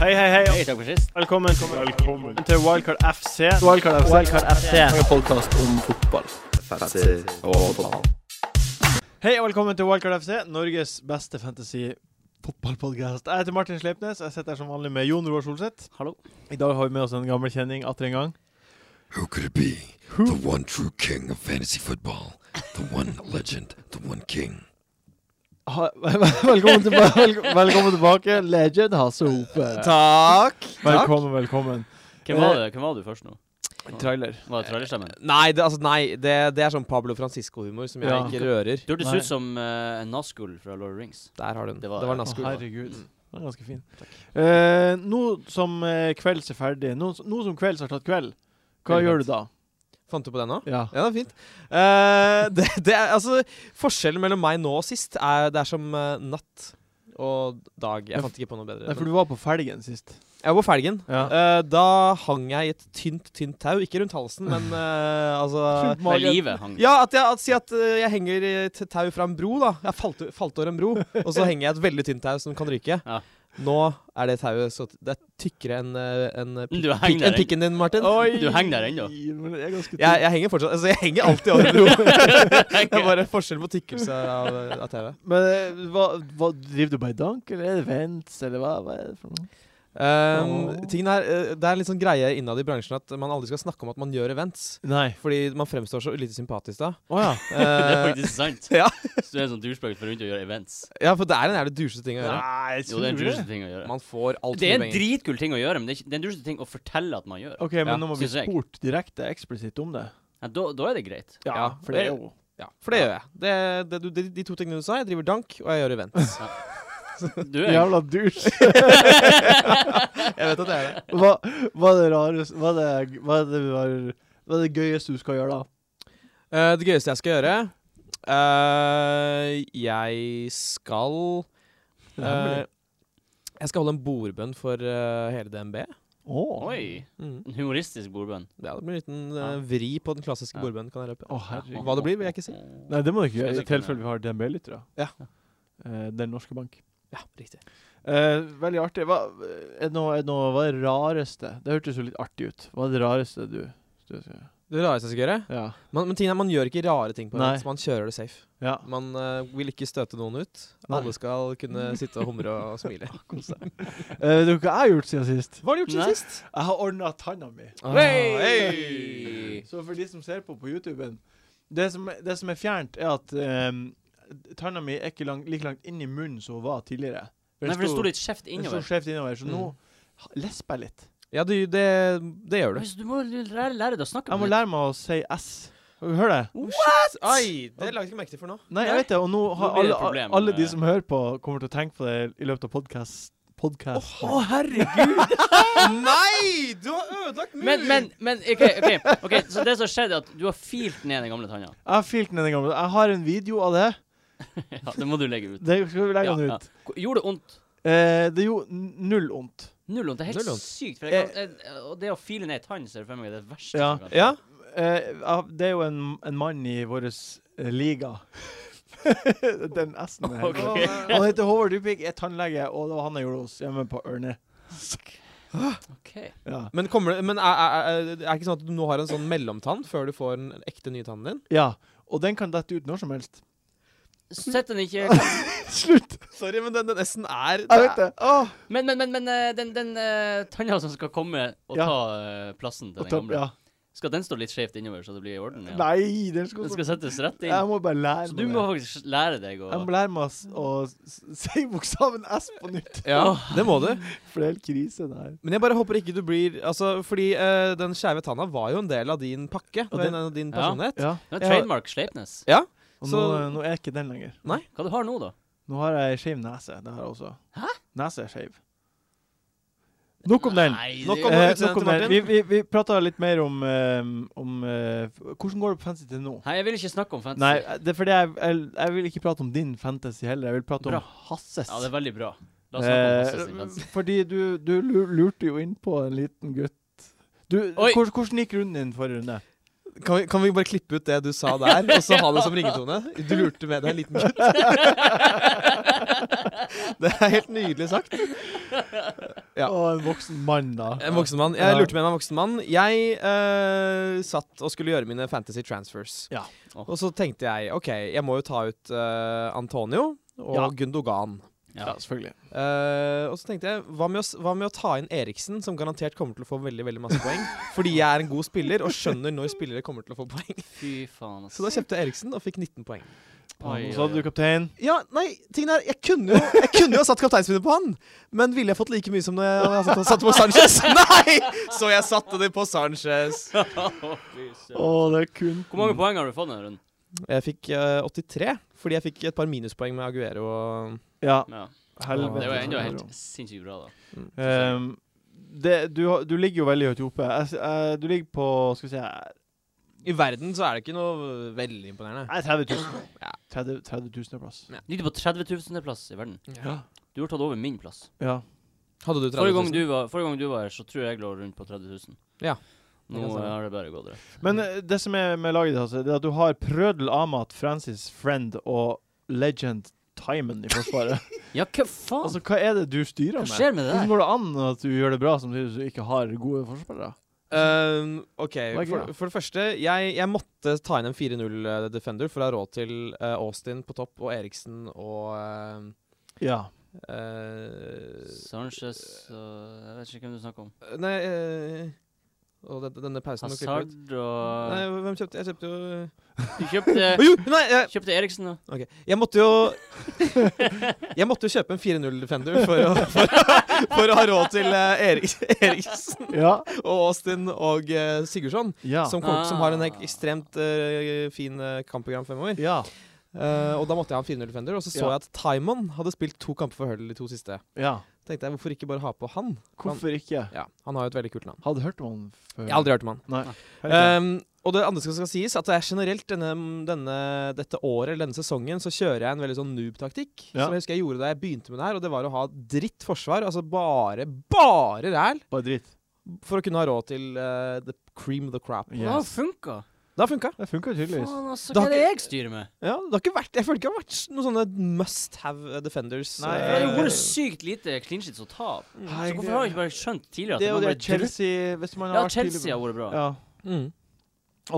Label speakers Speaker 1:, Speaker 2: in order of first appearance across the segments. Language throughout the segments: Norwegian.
Speaker 1: Hei, hei, hei.
Speaker 2: Hei, takk for sist.
Speaker 1: Velkommen, til Wildcard FC.
Speaker 3: Wildcard FC.
Speaker 1: Wildcard FC.
Speaker 3: En podkast om fotball.
Speaker 1: Hei og velkommen til Wildcard FC, Norges beste fantasy fotballpodcast. Jeg heter Martin Sleipnes. Jeg sitter her som vanlig med Jon Roar Solseth.
Speaker 2: Hallo.
Speaker 1: I dag har vi med oss en gammel kjenning atter en gang.
Speaker 4: Who could it be? The one true king of fantasy football. The one legend. The one king.
Speaker 3: Ha, velkommen, tilbake, velkommen, velkommen tilbake, legend Hasse Hope.
Speaker 5: Eh, Takk.
Speaker 1: Velkommen, velkommen.
Speaker 2: Hvem var, det? Hvem var du først nå?
Speaker 3: Trailer.
Speaker 2: Var det trollerstemmen?
Speaker 5: Nei, det, altså, nei det, det er sånn Pablo Francisco-humor som jeg
Speaker 1: Ja.
Speaker 5: ikke rører.
Speaker 2: Du hørtes
Speaker 1: Nei.
Speaker 2: ut som eh, en Nazgul fra Lord of the Rings.
Speaker 5: Der har du den.
Speaker 2: Det
Speaker 5: Det
Speaker 2: var-
Speaker 5: var,
Speaker 2: ja.
Speaker 1: Å,
Speaker 5: Nazgul.
Speaker 1: herregud.
Speaker 2: Mm.
Speaker 1: Den er ganske fin. Eh, nå som eh, kvelds er ferdig, nå, nå som kvelds har tatt kveld, hva
Speaker 5: Veldig
Speaker 1: gjør du da?
Speaker 5: Fant du på den nå?
Speaker 1: Ja.
Speaker 5: Ja, det er fint. Eh, det, det er, altså, forskjellen mellom meg nå og sist er det er som eh, natt og dag.
Speaker 1: Nei,
Speaker 5: Jeg fant ikke på noe bedre.
Speaker 1: Nei, for
Speaker 5: men-
Speaker 1: du var på felgen sist.
Speaker 5: Jeg var på felgen.
Speaker 1: Ja.
Speaker 5: Eh, da hang jeg i et tynt, tynt tau. Ikke rundt halsen, men eh, altså
Speaker 2: Med livet hang
Speaker 5: Ja, at jeg, at, si at eh, jeg henger i et tau fra en bro, da. Jeg falt, falt over en bro, og så henger jeg i et veldig tynt tau som kan ryke.
Speaker 2: Ja.
Speaker 5: Nå er det tauet så t- Det er tykkere enn eh, enn, eh,
Speaker 2: Du
Speaker 5: pik-
Speaker 2: henger
Speaker 5: enn
Speaker 2: der ennå.
Speaker 5: pikken din, Martin.
Speaker 2: Du henger der ennå.
Speaker 1: Men det er ganske
Speaker 5: Jeg, jeg henger fortsatt Altså, jeg henger alltid over en bro. det er bare forskjell på tykkelse av, av tauet.
Speaker 1: Men eh, hva, hva, driver du bare i dank, eller er det vents, eller hva, hva er det for noe?
Speaker 5: Um,
Speaker 1: Åh.
Speaker 5: tingen er, eh, det er en litt sånn greie innad i bransjen at man aldri skal snakke om at man gjør events.
Speaker 1: Nei.
Speaker 5: Fordi man fremstår så lite sympatisk da.
Speaker 1: Å ja.
Speaker 2: Det er
Speaker 5: Eh,
Speaker 2: faktisk sant.
Speaker 5: Ja.
Speaker 2: Så du er en sånn douchebag for rundt og gjør events.
Speaker 5: ja, for det er en jævlig dusjete ting å gjøre.
Speaker 1: Nei,
Speaker 2: Jo, det er en
Speaker 1: tror du
Speaker 2: douchete ting å gjøre.
Speaker 5: Man får alt
Speaker 2: Det er
Speaker 5: for
Speaker 2: en
Speaker 5: mye penger.
Speaker 2: dritkul ting å gjøre, men det er, ikke, det er en douchete ting å fortelle at man gjør.
Speaker 1: OK, men
Speaker 5: Ja,
Speaker 1: nå må vi
Speaker 2: synes jeg.
Speaker 1: spurt direkte eksplisitt om det.
Speaker 2: Ja, da, da er det greit.
Speaker 5: Ja,
Speaker 1: for det er jo
Speaker 5: Ja, for det gjør jeg. Det, det, du- de, de to tingene du sa, jeg driver dank, og jeg gjør event.
Speaker 2: Du er
Speaker 1: Jævla dusj.
Speaker 5: Jeg vet at det er det.
Speaker 1: Hva, hva er det rareste Hva er det, hva er det, rar- hva er det gøyeste du skal gjøre da?
Speaker 5: Eh, det gøyeste jeg skal gjøre eh, Jeg skal
Speaker 1: Det er
Speaker 5: eh,
Speaker 1: hemmelig.
Speaker 5: Jeg skal holde en bordbønn for eh, hele DNB.
Speaker 1: Å.
Speaker 2: Oi!
Speaker 5: Mhm.
Speaker 2: En humoristisk bordbønn.
Speaker 5: Ja, det blir en liten eh,
Speaker 2: Ja.
Speaker 5: vri på den klassiske
Speaker 2: Ja.
Speaker 5: bordbønnen, kan jeg røpe.
Speaker 1: Å, herregud.
Speaker 5: Hva det blir, vil jeg ikke si.
Speaker 1: Nei, det må du ikke gjøre,
Speaker 2: Skal
Speaker 1: i
Speaker 2: jeg tenke på
Speaker 1: tilfelle vi har DNB-lyttere.
Speaker 5: Ja.
Speaker 1: Eh, Den norske bank.
Speaker 5: Ja, riktig.
Speaker 1: Eh, veldig artig. Hva er det noe, er det noe hva er det rareste? Det hørtes jo litt artig ut. Hva er det rareste du, du skal gjøre?
Speaker 5: Det rareste jeg skal gjøre
Speaker 1: Ja.
Speaker 5: Man, men tingen er, man gjør ikke rare ting på
Speaker 1: Nei.
Speaker 5: event. Man kjører det safe.
Speaker 1: ja.
Speaker 5: Man eh, vil ikke støte noen ut.
Speaker 1: Nei.
Speaker 5: Alle skal kunne sitte og humre og smile.
Speaker 1: Eh, vet du hva jeg har gjort siden sist?
Speaker 5: Hva har du gjort
Speaker 2: Nei.
Speaker 5: siden sist?
Speaker 1: Jeg har ordna tanna mi.
Speaker 5: Ah,
Speaker 2: Hey!
Speaker 1: Så for de som ser på på YouTuben Det som, det som er fjernt, er at ehm, tanna mi er ikke lang, like langt inn i munnen som hun var tidligere.
Speaker 2: Nei, for det sto litt skjevt innover. Mm.
Speaker 1: Så skjevt innover, så nå ha- lesper jeg litt.
Speaker 5: Ja, du, det, det gjør du.
Speaker 2: Hvis Du må jo lære, lære deg å snakke
Speaker 1: Jeg må
Speaker 2: om det.
Speaker 1: lære meg å si S. Hør det?
Speaker 5: What?! Oh, Oi, det la jeg ikke merke til for nå.
Speaker 1: Nei, jeg vet det. Og nå
Speaker 2: Nå
Speaker 1: har
Speaker 2: blir det
Speaker 1: alle,
Speaker 2: et problem,
Speaker 1: alle de
Speaker 2: eh.
Speaker 1: som hører på, kommer til å tenke på det i løpet av podkast. Podcast.
Speaker 5: herregud! Nei! Du har ødelagt mur!
Speaker 2: Men, men, men ok, ok, ok, så det som har skjedd er at du har filt ned den gamle tanna.
Speaker 1: Jeg har filt den en gang. Jeg har en video av det.
Speaker 2: Ja, det må du legge ut.
Speaker 1: Det skal vi legge
Speaker 2: Ja,
Speaker 1: den
Speaker 2: ja.
Speaker 1: ut.
Speaker 2: Ko- Gjorde det ondt?
Speaker 1: Eh, det gjorde n- null vondt.
Speaker 2: Null vondt. Det er helt
Speaker 5: Null vondt.
Speaker 2: sykt. For jeg kan, jeg, og det å file ned ei tann ser jeg for meg er det
Speaker 1: Eh,
Speaker 2: verste.
Speaker 1: Ja.
Speaker 2: som kan skje.
Speaker 5: Ja?
Speaker 1: Eh, av- det er jo en, en mann i vår eh, liga. Den S-en der.
Speaker 2: Ok.
Speaker 1: Og Han heter Håvard Dybvik, er tannlege, og det var han jeg gjorde hos hjemme på Ørne.
Speaker 2: Ok.
Speaker 1: Ja.
Speaker 5: Men, kommer det, men er, er, er det ikke sånn at du nå har en sånn mellomtann før du får den ekte nye tannen din?
Speaker 1: ja. Og den kan dette ut når som helst.
Speaker 2: Sett den ikke
Speaker 1: Slutt!
Speaker 5: Sorry, men den, den S-en er
Speaker 1: Jeg vet det. Åh,
Speaker 2: Men, men, men, men eh, den, den eh, tanna som skal komme og
Speaker 1: Ja.
Speaker 2: ta eh, plassen til
Speaker 1: og
Speaker 2: den
Speaker 1: ta-
Speaker 2: gamle,
Speaker 1: ja.
Speaker 2: skal den stå litt skjevt innover, så det blir i orden? Ja.
Speaker 1: Nei, den skal, så-
Speaker 2: Den skal settes rett inn.
Speaker 1: Jeg må bare lære
Speaker 2: Så
Speaker 1: meg
Speaker 2: du
Speaker 1: det.
Speaker 2: må faktisk lære deg å
Speaker 1: Jeg må lære meg å s- å s- si bokstaven S på nytt.
Speaker 5: Ja, det må du.
Speaker 1: For det er helt krise, det her.
Speaker 5: Men jeg bare håper ikke du blir Altså, fordi eh, den skeive tanna var jo en del av din pakke.
Speaker 1: Og
Speaker 5: Og
Speaker 1: den-
Speaker 5: den, din
Speaker 2: Ja.
Speaker 5: personlighet.
Speaker 1: Ja.
Speaker 2: Det er
Speaker 5: Ja.
Speaker 2: trademark Sleipnes.
Speaker 5: Ja.
Speaker 1: Og nå, eh,
Speaker 5: Så-
Speaker 1: nå er ikke den lenger.
Speaker 2: Hva du har nå, da?
Speaker 1: Nå har jeg skeiv nese. Det har jeg også. Hæ? Nese er skeiv. Nok om den.
Speaker 2: Nei,
Speaker 5: Nok
Speaker 2: det-
Speaker 5: om-
Speaker 1: Eh,
Speaker 5: utseendet
Speaker 1: nok om
Speaker 5: til
Speaker 1: den. Vi,
Speaker 5: Martin.
Speaker 1: vi, vi prata litt mer om, eh, om eh, f- Hvordan går det på fantasy til nå?
Speaker 2: Nei, jeg vil ikke snakke om fantasy.
Speaker 1: Nei, det er fordi jeg, jeg, jeg vil ikke prate om din fantasy heller. Jeg vil prate
Speaker 2: Bra.
Speaker 1: om Hasses.
Speaker 2: Ja, det er veldig bra. La oss snakke om
Speaker 1: Eh,
Speaker 2: fantasy fantasy.
Speaker 1: fordi du, du lu- lurte jo inn på en liten gutt. Du,
Speaker 2: Oi.
Speaker 1: hvor, hvordan gikk runden din forrige runde?
Speaker 5: Kan vi, kan vi bare klippe ut det du sa der, og så ha det som ringetone? Du lurte med deg en liten gutt. Det er helt nydelig sagt. Ja.
Speaker 1: Og en voksen mann, da.
Speaker 5: En voksen mann. Jeg lurte med meg en voksen mann. Jeg eh, satt og skulle gjøre mine fantasy transfers.
Speaker 1: Ja.
Speaker 5: Og så tenkte jeg OK, jeg må jo ta ut eh, Antonio og
Speaker 1: Ja.
Speaker 5: Gundogan.
Speaker 1: Ja, selvfølgelig.
Speaker 5: Eh, og så tenkte jeg, hva med, å, s- hva med å ta inn Eriksen, som garantert kommer til å få veldig veldig masse poeng? Fordi jeg er en god spiller og skjønner når spillere kommer til å få poeng.
Speaker 2: Fy faen, ass.
Speaker 5: Så da kjøpte jeg Eriksen og fikk 19 poeng.
Speaker 2: Oi,
Speaker 1: Og
Speaker 2: oi,
Speaker 1: så hadde
Speaker 2: oi.
Speaker 1: du kaptein.
Speaker 5: Ja, nei, tingen er, jeg kunne jo, jeg kunne jo ha satt kapteinspinnet på han, men ville jeg fått like mye som når jeg, når jeg satte, satte på Sanchez? Nei! Så jeg satte det på Sanchez.
Speaker 2: Fy søren.
Speaker 1: Å, det er kun
Speaker 2: Hvor mange poeng har du fått denne runden?
Speaker 5: Jeg fikk eh, 83, fordi jeg fikk et par minuspoeng med Aguero. Og,
Speaker 1: Ja,
Speaker 2: Ja.
Speaker 1: helvete.
Speaker 2: Det var ennå
Speaker 1: så
Speaker 2: helt
Speaker 1: bra.
Speaker 2: sinnssykt bra, da.
Speaker 1: Ehm, det, du, har- du ligger jo veldig høyt oppe. Jeg, s- eh, du ligger på skal vi si
Speaker 5: I verden så er det ikke noe veldig imponerende.
Speaker 1: Nei, 30 000.
Speaker 5: Ja.
Speaker 1: 30, 30 000 er plass.
Speaker 2: Ligger du på 30 000. plass i verden?
Speaker 1: Ja.
Speaker 2: Du har tatt over min plass.
Speaker 1: Ja.
Speaker 5: Hadde du 30 000?
Speaker 2: Forrige gang du var, forrige gang du var her, så tror jeg jeg lå rundt på 30 000.
Speaker 5: Ja.
Speaker 2: Nå
Speaker 5: Det kan
Speaker 2: eh,
Speaker 5: stemme.
Speaker 2: har det bare gått rett.
Speaker 1: Men eh, det som er med laget ditt, altså, det er at du har Prødel Amat, Francis Friend og Legend Timon i forsvaret.
Speaker 2: Ja, hva faen?
Speaker 1: altså, hva er det du styrer
Speaker 2: hva
Speaker 1: med?
Speaker 2: skjer med det
Speaker 1: Hvordan
Speaker 2: der?
Speaker 1: går det an at du gjør det bra samtidig som du ikke har gode forsvarere?
Speaker 5: Ehm, OK,
Speaker 1: Hva er
Speaker 5: for,
Speaker 1: greia?
Speaker 5: for det første, jeg, jeg måtte ta inn en 4-0 defender for å ha råd til eh, Austin på topp og Eriksen og
Speaker 1: Ja.
Speaker 5: eh, eh,
Speaker 2: Sanchez og Jeg vet ikke hvem du snakker om.
Speaker 5: Nei eh, Og denne, denne pausen må klippe ut.
Speaker 2: Hazard og
Speaker 5: Nei, hvem kjøpte Jeg kjøpte jo
Speaker 2: Du kjøpte,
Speaker 5: Å, Jo, nei! eh, Jeg,
Speaker 2: kjøpte Eriksen, da.
Speaker 5: Ok, Jeg måtte jo Jeg måtte jo kjøpe en 4-0 Defender for å, for, å- for å ha råd til eh, Erik, Eriksen
Speaker 1: Ja.
Speaker 5: og Austin og eh, Sigurdsson,
Speaker 1: Ja.
Speaker 5: som, kom, som har en ek- ekstremt eh, fin eh, kampprogram fremover.
Speaker 1: ja.
Speaker 5: Eh, og da måtte jeg ha en 4-0 Defender, og så så
Speaker 1: Ja.
Speaker 5: jeg at Timon hadde spilt to kamper for Hull de to siste.
Speaker 1: ja.
Speaker 5: Tenkte jeg, hvorfor ikke bare ha på han?
Speaker 1: Hvorfor ikke?
Speaker 5: Ja, Han har jo et veldig kult navn.
Speaker 1: Hadde hørt om han før.
Speaker 5: Jeg har aldri hørt om han.
Speaker 1: Nei.
Speaker 2: Eh,
Speaker 5: Ehm, og det andre som skal sies, at det er generelt denne, denne, dette året eller denne sesongen så kjører jeg en veldig sånn noob-taktikk.
Speaker 1: Ja.
Speaker 5: Som jeg husker jeg gjorde da jeg begynte med det her, og det var å ha dritt forsvar. Altså bare, bare ræl.
Speaker 1: Bare dritt.
Speaker 5: For å kunne ha råd til eh, the cream the crap.
Speaker 1: Yes.
Speaker 2: Hva funka?
Speaker 5: Det har funka.
Speaker 1: Det funka tydeligvis.
Speaker 2: Faen, altså,
Speaker 5: Da
Speaker 2: hva
Speaker 5: har
Speaker 2: er det jeg styrer med?
Speaker 5: Ja, det har ikke vært, jeg føler ikke det har vært noen sånne must have eh, defenders.
Speaker 1: Nei,
Speaker 2: Det har jo
Speaker 5: eh,
Speaker 2: vært sykt lite clean sheets å ta av. Så hvorfor har jeg ikke bare skjønt tidligere at
Speaker 1: Det er jo
Speaker 2: var
Speaker 1: det
Speaker 2: bare dritt?
Speaker 1: Chelsea Hvis man har
Speaker 2: Ja,
Speaker 1: vært
Speaker 2: Chelsea
Speaker 1: tidlig-
Speaker 2: har vært bra.
Speaker 1: Ja.
Speaker 5: mm.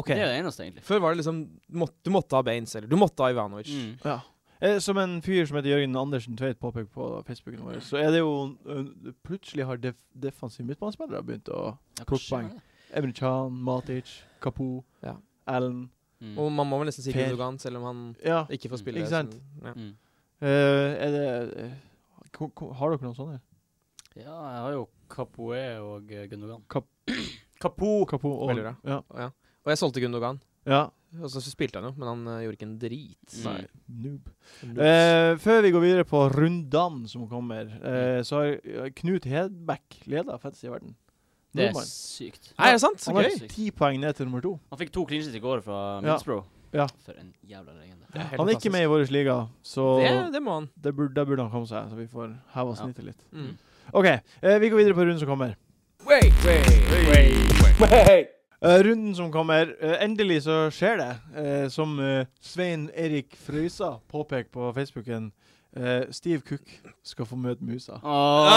Speaker 1: OK.
Speaker 2: Det er det eneste, egentlig.
Speaker 5: Før var det liksom du måtte- Du måtte ha Baines, eller du måtte ha Ivanovic.
Speaker 2: Mm.
Speaker 1: Ja. Eh, Som en fyr som heter Jørgen Andersen Tveit påpeker på Facebooken vår, så er det jo eh, Plutselig har def defensive midtbanespillere begynt å
Speaker 2: Ja, hva
Speaker 1: Plukke
Speaker 2: skjer
Speaker 1: poeng.
Speaker 2: med det?
Speaker 1: Emre Can, Matic, Kapo,
Speaker 5: Ja.
Speaker 1: Allen
Speaker 2: Mm.
Speaker 5: Og man må vel nesten si
Speaker 1: Per.
Speaker 5: Gundogan, selv om han
Speaker 1: Ja.
Speaker 5: ikke får spille.
Speaker 1: Ikke sant?
Speaker 5: som- ja.
Speaker 2: Mm.
Speaker 1: Eh, er det eh, ko- ko- Har dere noen sånne?
Speaker 2: Ja, jeg har jo Capoe og eh, Gundogan.
Speaker 1: Kap-
Speaker 2: Kapo.
Speaker 1: Kapo og
Speaker 5: Veldig bra.
Speaker 1: Ja.
Speaker 5: Ja. Og jeg solgte Gundogan.
Speaker 1: ja.
Speaker 5: Og så spilte han jo, men han eh, gjorde ikke en drit.
Speaker 2: Mm.
Speaker 1: Nei, noob.
Speaker 5: Null.
Speaker 1: Eh, før vi går videre på rundene som kommer, eh, så har eh, Knut Hedbekk leda Fantasy i verden.
Speaker 2: Det er
Speaker 1: Nordmann.
Speaker 2: sykt.
Speaker 5: Nei, er det sant? Så
Speaker 1: Han
Speaker 5: gøy.
Speaker 1: har ti poeng ned til nummer to.
Speaker 2: Han fikk to clean sheets i går fra
Speaker 1: Ja.
Speaker 2: Middlesbrough.
Speaker 1: Ja.
Speaker 2: For en jævla legende.
Speaker 5: Det er helt
Speaker 1: Han er ikke
Speaker 5: fantastisk.
Speaker 1: med i vår liga, så
Speaker 5: Det, det må han.
Speaker 1: det burde, da burde han komme seg, så vi får heva
Speaker 2: Ja.
Speaker 1: snittet litt.
Speaker 5: Mm.
Speaker 1: OK, eh, vi går videre på runden som kommer.
Speaker 2: Wait, wait, wait.
Speaker 1: Eh, runden som kommer eh, Endelig så skjer det. Eh, som eh, Svein Erik Frøysa påpeker på Facebooken. eh, Steve Cook skal få møte musa.
Speaker 5: Ah,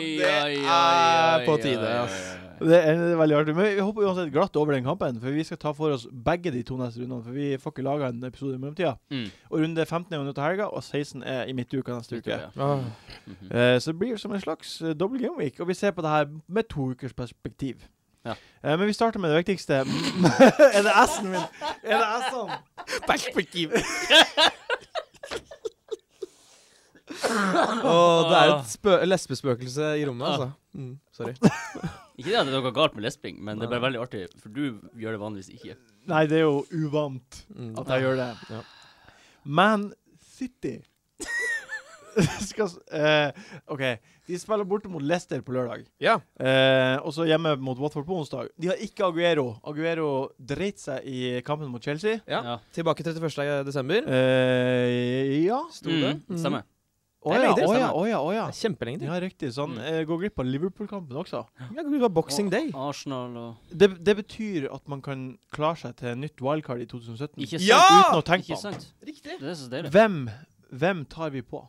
Speaker 5: det er på tide, ass.
Speaker 1: Det er, det er veldig artig. Men vi hopper uansett glatt over den kampen, for vi skal ta for oss begge de to neste rundene. For vi får ikke laga en episode i mellomtida.
Speaker 2: Mm.
Speaker 1: Og runde 15 er jo nå til helga, og 16 er i midtuka neste uke.
Speaker 2: Ja. Mhm.
Speaker 1: Eh, Så det blir som en slags eh, dobbel gameweek, og vi ser på det her med to ukers perspektiv.
Speaker 2: Ja.
Speaker 1: Eh, Men vi starter med det viktigste. er det S-en min? Er det S-ene?
Speaker 5: Perspektiv! Åh, det er et spø lesbespøkelse i rommet, altså. Mm, sorry.
Speaker 2: Ikke det at det er noe galt med lesbing, men det er bare veldig artig, for du gjør det vanligvis ikke.
Speaker 1: Nei, det er jo uvant
Speaker 5: Mm.
Speaker 1: at jeg gjør det.
Speaker 5: Ja.
Speaker 1: Man City skal s- eh, OK, de spiller borte mot Leicester på lørdag.
Speaker 5: Ja.
Speaker 1: Eh, og så hjemme mot Watford på onsdag. De har ikke Aguero. Aguero dreit seg i kampen mot Chelsea.
Speaker 5: Ja. Tilbake 31. desember.
Speaker 1: Eh, ja.
Speaker 5: Sto det?
Speaker 2: Mm. Stemmer.
Speaker 5: Å
Speaker 3: Å
Speaker 5: ja,
Speaker 3: ja,
Speaker 5: det
Speaker 3: å ja,
Speaker 5: stemmer.
Speaker 3: å ja, å ja.
Speaker 5: Kjempelenge til.
Speaker 1: Ja, riktig. Så han
Speaker 2: Mm.
Speaker 1: eh, går glipp av Liverpool-kampen også.
Speaker 5: Ja, det var Boxing Day.
Speaker 2: Arsenal og
Speaker 1: Det, det betyr at man kan klare seg til nytt wildcard i 2017
Speaker 2: Ikke sant?
Speaker 5: Ja!
Speaker 1: uten å tenke
Speaker 2: Ikke
Speaker 1: på
Speaker 2: sant?
Speaker 5: Riktig.
Speaker 2: Det er så
Speaker 1: det.
Speaker 2: deilig.
Speaker 1: Hvem, hvem tar vi på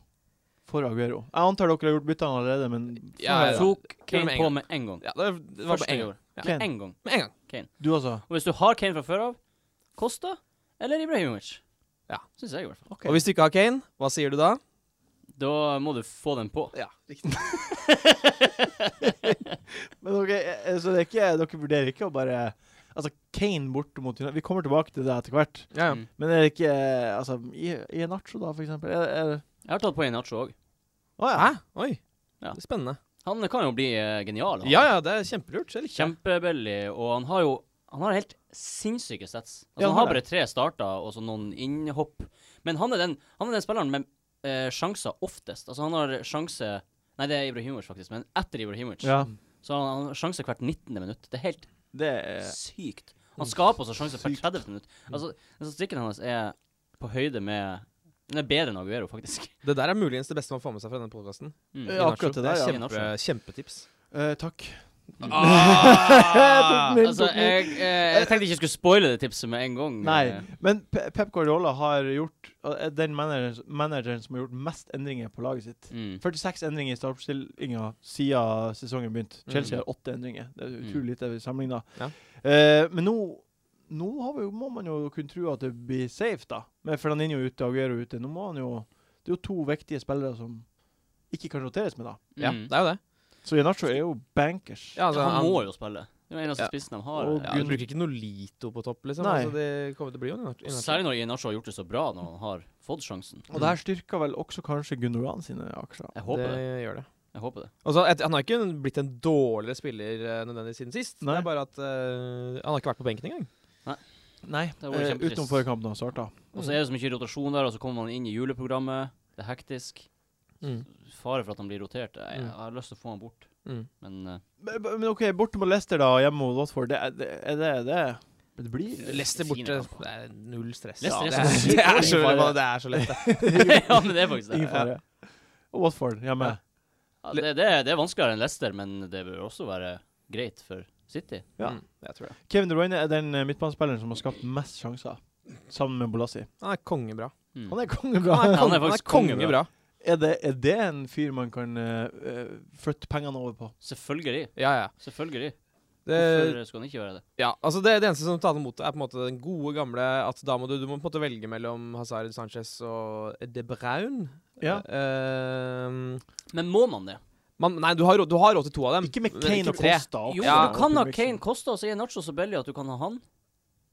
Speaker 1: for Aguero? Jeg antar dere har gjort byttene allerede, men
Speaker 5: Ja, ja, ja.
Speaker 2: Tok
Speaker 5: Kjør
Speaker 2: Kane
Speaker 5: med en
Speaker 2: på
Speaker 5: gang.
Speaker 2: med en gang.
Speaker 5: Ja, det, det var
Speaker 2: Første
Speaker 5: med en gang.
Speaker 2: gjorde.
Speaker 5: Ja.
Speaker 2: Med
Speaker 1: Kane.
Speaker 2: en gang.
Speaker 5: Med en gang.
Speaker 1: du altså?
Speaker 2: Og hvis du har Kane fra før av, Costa eller Ibrahimovic?
Speaker 5: Ja.
Speaker 2: Syns jeg, i hvert fall.
Speaker 5: Og hvis du ikke har Kane, hva sier du da?
Speaker 2: Da må du få den på.
Speaker 5: Ja, riktig.
Speaker 1: Men dere, eh, så det er ikke, dere vurderer ikke å bare Altså, Kane borte mot United Vi kommer tilbake til det etter hvert.
Speaker 5: Ja, ja.
Speaker 2: Mm.
Speaker 1: Men er det ikke eh, Altså, i, i en nacho, da, for eksempel? Er, er,
Speaker 2: Jeg har tatt på Inacho òg.
Speaker 1: å ja.
Speaker 5: Hæ? Oi.
Speaker 2: Ja.
Speaker 5: Det er spennende.
Speaker 2: Han kan jo bli eh, genial. Han.
Speaker 5: Ja, ja, det er kjempelurt. Jeg liker det.
Speaker 2: Kjempebillig. Og han har jo Han har helt sinnssyke stats. Altså,
Speaker 1: Ja, han
Speaker 2: han
Speaker 1: har
Speaker 2: har bare tre starter og så noen innhopp. Men han er den, han er den spilleren med eh, sjanser oftest. Altså, han har sjanse Nei, det er Ibrahimovic, faktisk, men etter Ibrahimovic.
Speaker 1: ja.
Speaker 2: Så har han har sjanse hvert 19. minutt. Det er helt
Speaker 1: Det
Speaker 5: Eh,
Speaker 1: er
Speaker 2: sykt. Han skaper også sjanser hvert
Speaker 1: Sykt.
Speaker 2: 30. minutt. Altså, den statistikken hans er på høyde med Den er bedre enn Aguero, faktisk.
Speaker 5: Det der er muligens det beste man får med seg fra denne podkasten.
Speaker 2: Mm.
Speaker 1: Ja, akkurat det der, ja.
Speaker 5: Kjempe, kjempetips.
Speaker 1: eh, Takk.
Speaker 5: Ah!
Speaker 2: Altså, jeg, eh, jeg tenkte ikke jeg skulle spoile det tipset med en gang. eh,
Speaker 1: Nei. Men Pe- Pep Guardiola har gjort er den manageren, manageren som har gjort mest endringer på laget sitt.
Speaker 2: Mm.
Speaker 1: 46 endringer i startoppstillinga siden sesongen begynte. Chelsea
Speaker 5: Mm.
Speaker 1: har åtte endringer. Det er
Speaker 2: Mm.
Speaker 1: utrolig lite sammenligna.
Speaker 5: Ja.
Speaker 1: Eh, men nå, nå har vi, jo- må man jo kunne tro at det blir safe, da. Med Fernandinho ute og Aguero ute. Nå må han jo Det er jo to viktige spillere som ikke kan roteres med, da.
Speaker 5: Ja,
Speaker 2: Mm.
Speaker 5: det er jo det.
Speaker 1: Så Janacho er jo bankers.
Speaker 5: Ja, altså,
Speaker 2: han
Speaker 5: han-
Speaker 2: må jo spille. Det er den eneste
Speaker 5: Ja.
Speaker 2: spissen de har.
Speaker 1: Og
Speaker 5: Ja,
Speaker 2: Ja.
Speaker 5: du bruker ikke noe Lito på topp, liksom.
Speaker 1: Nei.
Speaker 5: Altså, det kommer til å bli jo en
Speaker 2: Og
Speaker 5: innart-
Speaker 2: Særlig når Inacho har gjort det så bra når han har fått sjansen.
Speaker 1: Og det her styrker vel også kanskje Gundogan sine aksjer.
Speaker 2: Jeg håper det.
Speaker 5: Det gjør det.
Speaker 2: Jeg håper det.
Speaker 5: Altså, et, han har ikke blitt en dårligere spiller eh, nødvendigvis siden sist.
Speaker 1: Nei.
Speaker 5: Det er bare at eh, han har ikke vært på benken engang.
Speaker 1: Nei,
Speaker 2: Det var
Speaker 1: eh,
Speaker 2: kjempetrist.
Speaker 1: utenom forrige kamp da han starta.
Speaker 2: Og så er det så mye rotasjon der, og så kommer han inn i juleprogrammet. Det er hektisk.
Speaker 1: Mm.
Speaker 2: Fare for at han blir rotert. Jeg, jeg
Speaker 5: Mm.
Speaker 2: har lyst til å få han bort,
Speaker 5: Mm.
Speaker 2: men eh,
Speaker 1: Men men OK, borte mot Leicester da, og hjemme mot Watford, det er det er det, det, det blir
Speaker 5: Leicester
Speaker 2: Fine
Speaker 5: borte.
Speaker 2: kamper.
Speaker 5: Det er null stress.
Speaker 2: Leicester er
Speaker 5: det,
Speaker 2: så sykt
Speaker 5: det, er så,
Speaker 1: dårlig.
Speaker 5: det er så lett. det.
Speaker 2: Ja, men det er faktisk det.
Speaker 1: ingen fare. Og Watford hjemme.
Speaker 5: Ja.
Speaker 2: Ja, det, det, det er vanskeligere enn Leicester, men det bør også være greit for City.
Speaker 1: Ja.
Speaker 5: Mm, jeg tror det.
Speaker 1: Kevin De Bruyne er den eh, midtbanespilleren som har skapt mest sjanser, sammen med Bolassi.
Speaker 5: Han er kongebra.
Speaker 2: Mm.
Speaker 1: Han er kongebra.
Speaker 5: Han
Speaker 2: Han
Speaker 5: er, kong,
Speaker 2: er
Speaker 5: han er
Speaker 2: faktisk
Speaker 5: kongebra.
Speaker 1: Er det, er det en fyr man kan eh, eh, flytte pengene over på?
Speaker 2: Selvfølgelig.
Speaker 5: Ja, ja.
Speaker 2: Selvfølgelig.
Speaker 5: Det,
Speaker 2: Hvorfor skal han ikke være det?
Speaker 5: Ja, altså det, det eneste som taler mot det, er på en måte den gode gamle at da må du, du må på en måte velge mellom Hazard Sanchez og De Braun.
Speaker 1: Ja.
Speaker 5: Ehm,
Speaker 2: Men må man det?
Speaker 5: man, nei, du har, råd- du har råd til to av dem.
Speaker 1: Ikke med
Speaker 5: men
Speaker 1: Kane
Speaker 5: ikke
Speaker 1: og
Speaker 5: tre.
Speaker 1: Costa. også.
Speaker 2: Jo,
Speaker 5: Ja.
Speaker 2: du kan ha Kane Costa, og så er Nacho så billig at du kan ha han.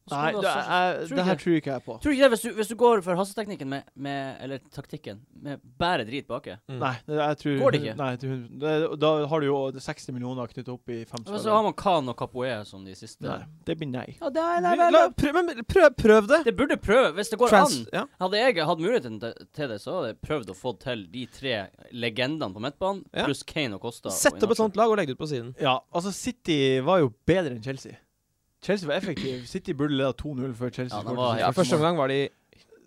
Speaker 2: Og så
Speaker 1: Nei,
Speaker 2: kan du ha
Speaker 1: det,
Speaker 2: Sanchez.
Speaker 1: er,
Speaker 2: Tror du
Speaker 1: det her
Speaker 2: ikke?
Speaker 1: tror ikke jeg på.
Speaker 2: Tror du ikke det, hvis du, hvis du går for hasteteknikken med, med Eller taktikken, med bare drit baki.
Speaker 5: Mm.
Speaker 1: Nei, det, jeg tror
Speaker 2: Går det ikke?
Speaker 1: Nei, jeg tror- det, da har du jo 60 millioner knyttet opp i fem
Speaker 2: Og så har man Khan og Capoe som de siste.
Speaker 1: Nei, det blir nei.
Speaker 2: Ja, det, er, det,
Speaker 5: La,
Speaker 2: er, det,
Speaker 5: la- prøv, men prøv, prøv det!
Speaker 2: er. det burde prøve, hvis det går
Speaker 5: Trans,
Speaker 2: an.
Speaker 5: ja.
Speaker 2: Hadde jeg hatt muligheten te- til det, så hadde jeg prøvd å få til de tre legendene på midtbanen,
Speaker 5: Ja.
Speaker 2: pluss Kane og Costa. og
Speaker 5: Sett opp et
Speaker 2: Inacho.
Speaker 5: sånt lag og legg det ut på siden.
Speaker 1: Ja, altså City var jo bedre enn Chelsea. Chelsea var effektiv. City burde leda 2-0 før Chelsea
Speaker 2: Ja, det
Speaker 1: skåret
Speaker 2: var
Speaker 1: sitt
Speaker 5: Ja,
Speaker 1: første
Speaker 2: helt-
Speaker 5: Første
Speaker 1: mål.
Speaker 5: omgang var de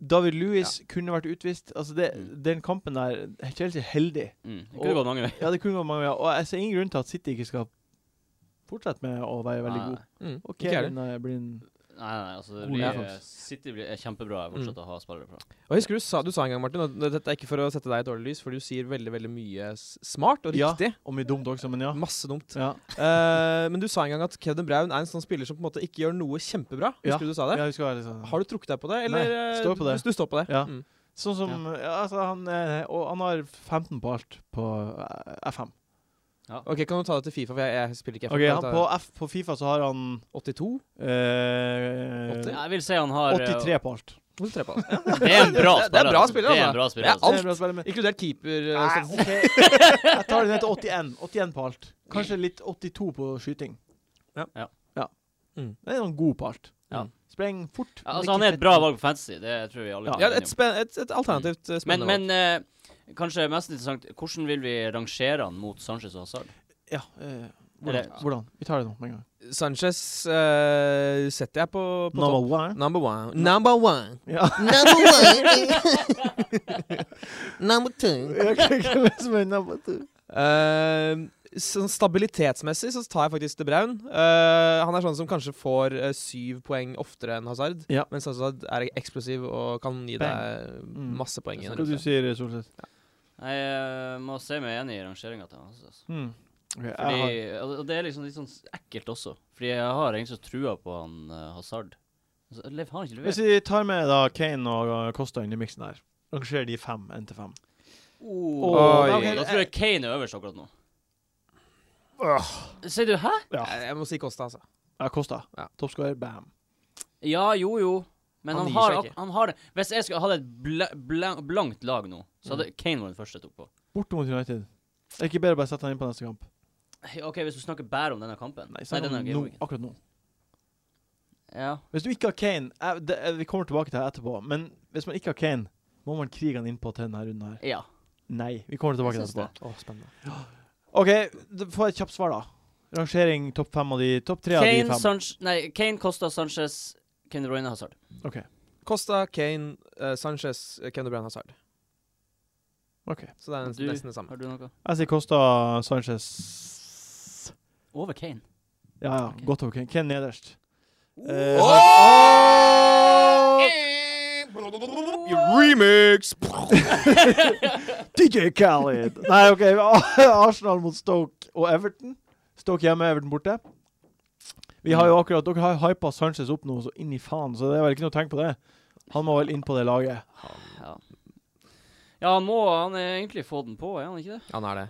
Speaker 1: David Lewis kunne vært utvist. Altså det,
Speaker 5: Mm.
Speaker 1: Den kampen der Chelsea er heldig.
Speaker 2: Mm. Det kunne
Speaker 1: Og-
Speaker 2: gått mange veier.
Speaker 1: Ja, det kunne vært mange ja. Og jeg ser ingen grunn til at City ikke skal fortsette med å være veldig
Speaker 2: Nei.
Speaker 1: god.
Speaker 5: mm,
Speaker 1: Og
Speaker 5: ikke jeg heller.
Speaker 1: Kevin eh, blir en-
Speaker 2: Nei, nei, altså det
Speaker 1: Ole
Speaker 2: blir,
Speaker 1: Jakob.
Speaker 2: City blir, er kjempebra. Jeg fortsetter å ha spillere bra.
Speaker 5: Og jeg husker du sa, du sa en gang, Martin, og dette er ikke for å sette deg i et dårlig lys, for du sier veldig veldig mye s- smart og
Speaker 1: Ja.
Speaker 5: riktig.
Speaker 1: Og mye dumt også, men ja.
Speaker 5: Masse dumt.
Speaker 1: Ja,
Speaker 5: Eh, men du sa en gang at Kevin Braun er en sånn spiller som på en måte ikke gjør noe kjempebra.
Speaker 1: Ja.
Speaker 5: Husker du du sa det?
Speaker 1: jeg husker det. Liksom.
Speaker 5: Har du trukket deg på det?
Speaker 1: Nei,
Speaker 5: Eller eh,
Speaker 1: står på det.
Speaker 5: Du, du står på det.
Speaker 1: Ja.
Speaker 5: Mm.
Speaker 1: Sånn som ja, altså, han, eh, og han har 15 på alt på eh, F5.
Speaker 5: Ok, Kan du ta det til Fifa? For jeg, jeg spiller ikke
Speaker 1: Ok,
Speaker 5: Kan
Speaker 1: han,
Speaker 5: du ta
Speaker 1: på F på Fifa så har han
Speaker 5: det? 82?
Speaker 1: eh,
Speaker 5: Åtti?
Speaker 2: Jeg vil si han har eh,
Speaker 1: 83 på alt.
Speaker 5: Hvorfor tre på det?
Speaker 2: Det er en bra
Speaker 5: Det er-
Speaker 2: spiller.
Speaker 5: det
Speaker 2: altså. Det er en
Speaker 5: er bra spiller, altså.
Speaker 2: bra spiller.
Speaker 5: Ja,
Speaker 2: altså.
Speaker 5: alt.
Speaker 1: Det er bra spiller, men
Speaker 5: Inkludert keeper. eh,
Speaker 1: Nei,
Speaker 5: statistikk.
Speaker 1: ok. Jeg tar det ned til 81. 81 på alt. Kanskje litt 82 på skyting.
Speaker 5: Ja.
Speaker 2: Ja.
Speaker 1: Ja.
Speaker 5: Mm.
Speaker 1: Det er noen god på alt. Mm.
Speaker 2: Ja.
Speaker 1: Spreng fort.
Speaker 2: Ja, altså, han er et bra valg på fantasy, det tror vi alle
Speaker 1: Ja.
Speaker 2: kan
Speaker 5: ja,
Speaker 2: være enige
Speaker 5: et, spen et, et alternativt eh,
Speaker 2: om. Men,
Speaker 5: spennende
Speaker 2: men eh, kanskje mest interessant, hvordan vil vi rangere han mot Sanchez og Hazard?
Speaker 1: Ja, eh, Hvordan?
Speaker 2: Eller-
Speaker 1: Hvordan? Vi tar det nå med en gang.
Speaker 5: Sanchez eh, setter jeg på, på
Speaker 1: Number
Speaker 5: topp.
Speaker 1: one.
Speaker 5: Number one. Number one.
Speaker 1: Ja.
Speaker 5: Number one. Number two. Eh, sånn stabilitetsmessig så tar jeg faktisk De Braun. Eh, han er sånn som kanskje får eh, syv poeng oftere enn Hazard.
Speaker 1: Ja.
Speaker 5: Mens Hazard er eksplosiv og kan gi deg
Speaker 1: Mm.
Speaker 5: masse poeng. i en
Speaker 1: Hva du
Speaker 5: runde.
Speaker 1: sier du, Solseth?
Speaker 2: Jeg eh, må si meg enig i rangeringa til han. Altså.
Speaker 1: Hmm. Ok, jeg
Speaker 2: Fordi,
Speaker 1: har-
Speaker 2: og og det er liksom litt sånn s- ekkelt også. Fordi jeg har egentlig så trua på han eh, Hazard. Altså, Lev har han ikke
Speaker 1: Hvis
Speaker 2: levert.
Speaker 1: vi tar med da Kane og Kosta inn i miksen her, rangerer de fem én til fem.
Speaker 2: Oh,
Speaker 5: Oi.
Speaker 2: ok, Da tror jeg Kane er øverst akkurat nå. Sier du hæ?
Speaker 1: Ja.
Speaker 5: Jeg, jeg må si Costa, altså.
Speaker 1: Ja, Kosta.
Speaker 5: Ja.
Speaker 1: Toppskårer, bam.
Speaker 2: Ja, jo, jo. Men
Speaker 5: Han
Speaker 2: han,
Speaker 5: gir
Speaker 2: har,
Speaker 5: seg ikke.
Speaker 2: han har det. Hvis jeg skulle hadde et bla, bla, blankt lag nå, så hadde Kane vært den første jeg tok på.
Speaker 1: Borte mot United. Er det ikke bedre å bare sette han inn på neste kamp?
Speaker 2: Hei, OK, hvis du snakker bare om denne kampen
Speaker 1: Nei, sett
Speaker 2: denne
Speaker 1: han nå,
Speaker 2: gameweeken.
Speaker 1: akkurat nå.
Speaker 2: Ja.
Speaker 1: Hvis du ikke har Kane jeg, det, jeg, Vi kommer tilbake til det etterpå, men hvis man ikke har Kane, må man krige han innpå til denne runden her.
Speaker 2: ja.
Speaker 1: Nei. Vi kommer tilbake til det
Speaker 2: Jeg syns
Speaker 1: etterpå.
Speaker 2: det.
Speaker 5: Å, spennende.
Speaker 1: OK, d- få et kjapt svar, da. Rangering topp fem av de Topp tre av de
Speaker 2: Kane,
Speaker 1: fem.
Speaker 2: Sanch nei, Kane, Costa, Sanchez, Kevin De Bruyne, Hazard.
Speaker 1: OK.
Speaker 5: Costa, Kane, eh, Sanchez, eh, Kevin De Bruyne, Hazard.
Speaker 1: ok
Speaker 5: Så det er
Speaker 2: Du-
Speaker 5: nesten det samme.
Speaker 2: Har du noe?
Speaker 1: Jeg sier Costa Sanchez
Speaker 2: Over Kane.
Speaker 1: Ja, ja.
Speaker 2: Ok.
Speaker 1: Godt over Kane. Kane nederst. Eh,
Speaker 6: Oh!
Speaker 5: Remix!
Speaker 1: DJ Khaled! Nei, OK. Arsenal mot Stoke og Everton. Stoke hjemme, Everton borte. Vi har jo akkurat, Dere har jo hypa Sanchez opp nå, så inn i faen, så det er vel ikke noe å tenke på det. Han må vel inn på det laget.
Speaker 2: Ja. ja, han må han er egentlig få den på, er han ikke det?
Speaker 5: Han er det.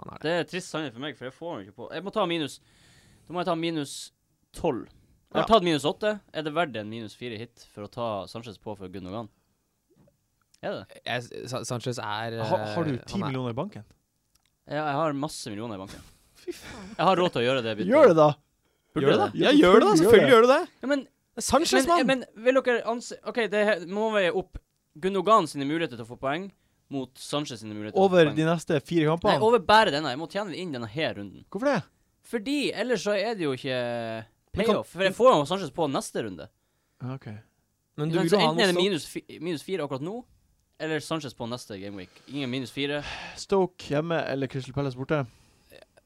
Speaker 5: Han er det.
Speaker 2: Det er trist sannhet for meg, for jeg får den ikke på. Jeg må ta minus Da må jeg ta minus 12. Jeg har
Speaker 1: Ja.
Speaker 2: tatt minus 8. Er det verdt en minus 4 hit for å ta Sanchez på for Gundogan? Er det det?
Speaker 5: Jeg, Sa- Sanchez er
Speaker 1: Ha, har du
Speaker 5: eh,
Speaker 1: ti
Speaker 5: han er-
Speaker 1: millioner i banken?
Speaker 2: Ja, jeg har masse millioner i banken. Jeg har råd til å gjøre det. byttet.
Speaker 1: Gjør det, da!
Speaker 2: Burde
Speaker 5: Gjør du det?
Speaker 2: jeg
Speaker 5: Ja, gjør du det! altså. Selvfølgelig gjør du det!
Speaker 2: Ja, men,
Speaker 5: Det er Sanchez,
Speaker 2: men,
Speaker 5: mann!
Speaker 2: men vil dere anse OK, det her- må veie opp Gundogan sine muligheter til å få poeng mot Sanchez sine muligheter
Speaker 1: Over
Speaker 2: til å få poeng.
Speaker 1: de neste fire
Speaker 2: Nei,
Speaker 1: kampene?
Speaker 2: over bare denne. Jeg må tjene det inn denne her runden.
Speaker 1: Hvorfor det?
Speaker 2: Fordi ellers så er det jo ikke
Speaker 5: Men kan-
Speaker 2: payoff. For jeg får jo Sanchez på neste runde.
Speaker 1: Ja, OK.
Speaker 5: Men
Speaker 2: Ikke sant?
Speaker 5: vil jo
Speaker 2: så
Speaker 5: ha
Speaker 2: altså, enten er det
Speaker 5: noe
Speaker 2: minus, fi, minus fire akkurat nå, eller Sanchez på neste gameweek. Ingen minus fire.
Speaker 1: Stoke hjemme eller Crystal Palace borte?
Speaker 5: så-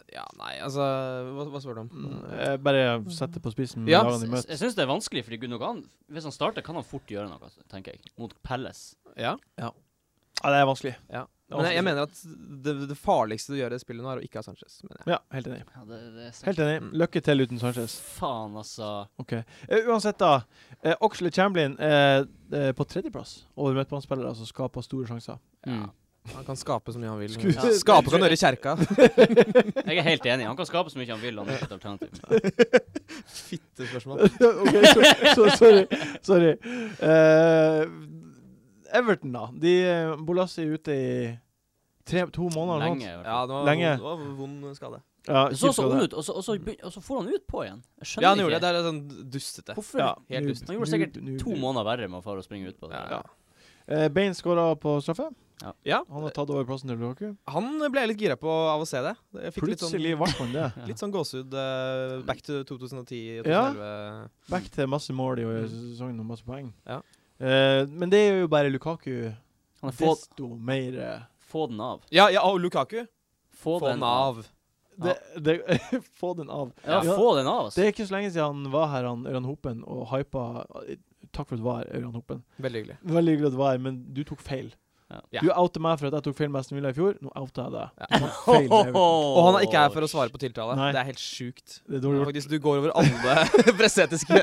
Speaker 5: Ja, nei, altså Hva, hva spør du om?
Speaker 1: Mm, jeg Bare sett det på spissen med
Speaker 5: Ja.
Speaker 1: lagene de
Speaker 2: Jeg,
Speaker 1: møter.
Speaker 2: jeg syns det er vanskelig, fordi Gundogan, hvis han starter, kan han fort gjøre noe, altså, tenker jeg. Mot Palace.
Speaker 5: Ja.
Speaker 1: Ja, det er vanskelig.
Speaker 5: Men jeg, jeg mener at det, det farligste du gjør i det spillet nå, er å ikke ha Sanchez. Mener jeg.
Speaker 1: Ja, helt enig.
Speaker 2: Ja, det, det er sant.
Speaker 1: Helt enig. Lykke til uten Sanchez.
Speaker 2: Faen, altså.
Speaker 1: Ok. Eh, uansett, da. Eh, Oxley Chamberlain er eh, på tredjeplass over midtbanespillere som skaper store sjanser.
Speaker 2: Mm.
Speaker 5: Han kan skape så mye han vil.
Speaker 1: Skulle-
Speaker 5: Ja. Skape kan gjøre kjerka.
Speaker 2: Jeg er helt enig. Han kan skape så mye han vil, han er ikke et alternativ.
Speaker 5: Fittespørsmål.
Speaker 1: ok, så, så, sorry. sorry. Eh, Everton, da. De eh, Bolassi er ute i tre, to måneder. eller noe
Speaker 2: Lenge. i hvert
Speaker 5: Ja,
Speaker 2: fall.
Speaker 5: det var,
Speaker 1: Lenge.
Speaker 5: det var vond skade.
Speaker 1: sånt. Ja,
Speaker 2: Det så
Speaker 1: kjipt
Speaker 2: så
Speaker 1: å
Speaker 2: ung
Speaker 1: det.
Speaker 2: ut, og så, og, så, begyn- og så får han ut på igjen. Jeg skjønner
Speaker 5: Ja, han gjorde
Speaker 2: ikke.
Speaker 5: det. Det er sånn dustete.
Speaker 2: Hvorfor?
Speaker 1: Ja,
Speaker 5: Helt
Speaker 1: noob,
Speaker 5: ut.
Speaker 2: Han gjorde sikkert
Speaker 1: noob, noob,
Speaker 2: To
Speaker 1: noob.
Speaker 2: måneder verre med å fare og springe ut på det.
Speaker 5: Ja.
Speaker 1: Eh, Bane skåra på straffe.
Speaker 5: Ja,
Speaker 1: Han har tatt over plassen til Lukaku.
Speaker 5: han ble jeg litt gira på av å se det. Jeg fikk litt sånn,
Speaker 1: Plutselig ble han det.
Speaker 2: Ja.
Speaker 5: litt sånn gåsehud eh, back to 2010 og
Speaker 1: Ja.
Speaker 5: 2011.
Speaker 1: Back til masse mål i
Speaker 2: Mm.
Speaker 1: sesongen og masse poeng.
Speaker 5: Ja.
Speaker 1: Eh, men det er jo bare Lukaku.
Speaker 2: Han er få,
Speaker 1: Desto mer eh,
Speaker 2: få den av.
Speaker 5: Ja, ja, og Lukaku.
Speaker 2: Få,
Speaker 5: Få den av.
Speaker 1: det, det, Få den av.
Speaker 2: Ja,
Speaker 1: Ja.
Speaker 2: få den av, altså.
Speaker 1: Det er ikke så lenge siden han var her, han Ørjan Hopen, og hypa Takk for at du var her, Ørjan Hopen.
Speaker 5: Veldig hyggelig.
Speaker 1: Veldig hyggelig at du var her, men du tok feil.
Speaker 5: Ja.
Speaker 1: Du outa meg for at jeg tok feil med Aston Villa i fjor. Nå outa jeg deg.
Speaker 5: Ja.
Speaker 1: Du tok feil med Everton.
Speaker 5: Og han er ikke her for å svare på tiltale.
Speaker 1: Nei.
Speaker 5: Det er helt sjukt.
Speaker 1: Det er dårlig gjort.
Speaker 5: Faktisk, du går over alle presetiske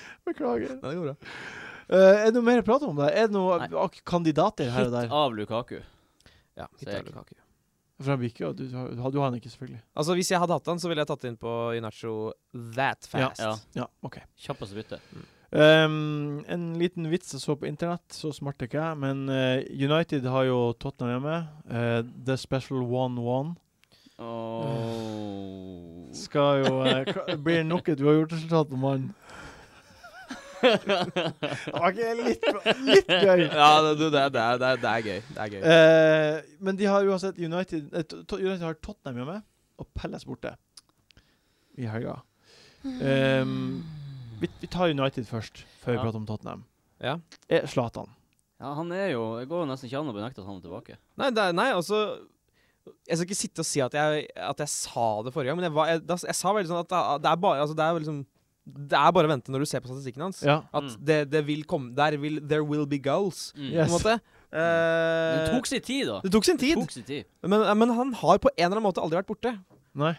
Speaker 1: Beklager.
Speaker 5: Det går bra.
Speaker 1: Eh, er det noe mer å prate om der? Er det noen
Speaker 2: Nei.
Speaker 1: ak- kandidater her og
Speaker 2: Hit
Speaker 1: der?
Speaker 2: av Lukaku.
Speaker 5: Ja, hit
Speaker 2: Så
Speaker 5: er
Speaker 2: jeg-
Speaker 5: Lukaku.
Speaker 1: For han blir ikke, og du, du har du har han ikke, selvfølgelig.
Speaker 5: Altså, Hvis jeg hadde hatt han, så ville jeg tatt inn på Inacho that fast.
Speaker 2: Ja.
Speaker 1: Ja, OK.
Speaker 2: Kjappest bytte.
Speaker 1: Ehm, en liten vits jeg så på internett, så smart er ikke jeg, men eh, United har jo Tottenham hjemme. Eh, The Special 1-1
Speaker 2: Oh.
Speaker 1: skal jo eh, ka- Blir det nok et uavgjort-resultat på mannen? Det var ikke litt, bra- litt gøy.
Speaker 5: Ja, det, det, det, er- det, er- det er gøy. Det er gøy.
Speaker 1: Eh, men de har uansett United eh, To- United har Tottenham hjemme. og Pelles borte i helga. Ehm, vi, vi tar United først, før vi
Speaker 2: Ja.
Speaker 1: prater om Tottenham.
Speaker 5: Ja.
Speaker 1: Eh, Zlatan.
Speaker 2: Ja, han er jo Det går jo nesten ikke an å benekte at han er tilbake.
Speaker 5: Nei, det, er- nei, altså Jeg skal ikke sitte og si at jeg, at jeg sa det forrige gang, men jeg, var, jeg, da, jeg sa veldig sånn at det, det er bare altså, det, er liksom, det er bare å vente når du ser på statistikken hans.
Speaker 1: Ja.
Speaker 5: At
Speaker 2: Mm.
Speaker 5: det, det vil komme Der vil There will be goals,
Speaker 2: Mm.
Speaker 1: Yes.
Speaker 5: på en måte.
Speaker 2: Det
Speaker 5: Eh,
Speaker 2: tok sin tid, da.
Speaker 5: det tok sin tid,
Speaker 2: tok sin tid.
Speaker 5: men, men han har på en eller annen måte aldri vært borte.
Speaker 1: Nei.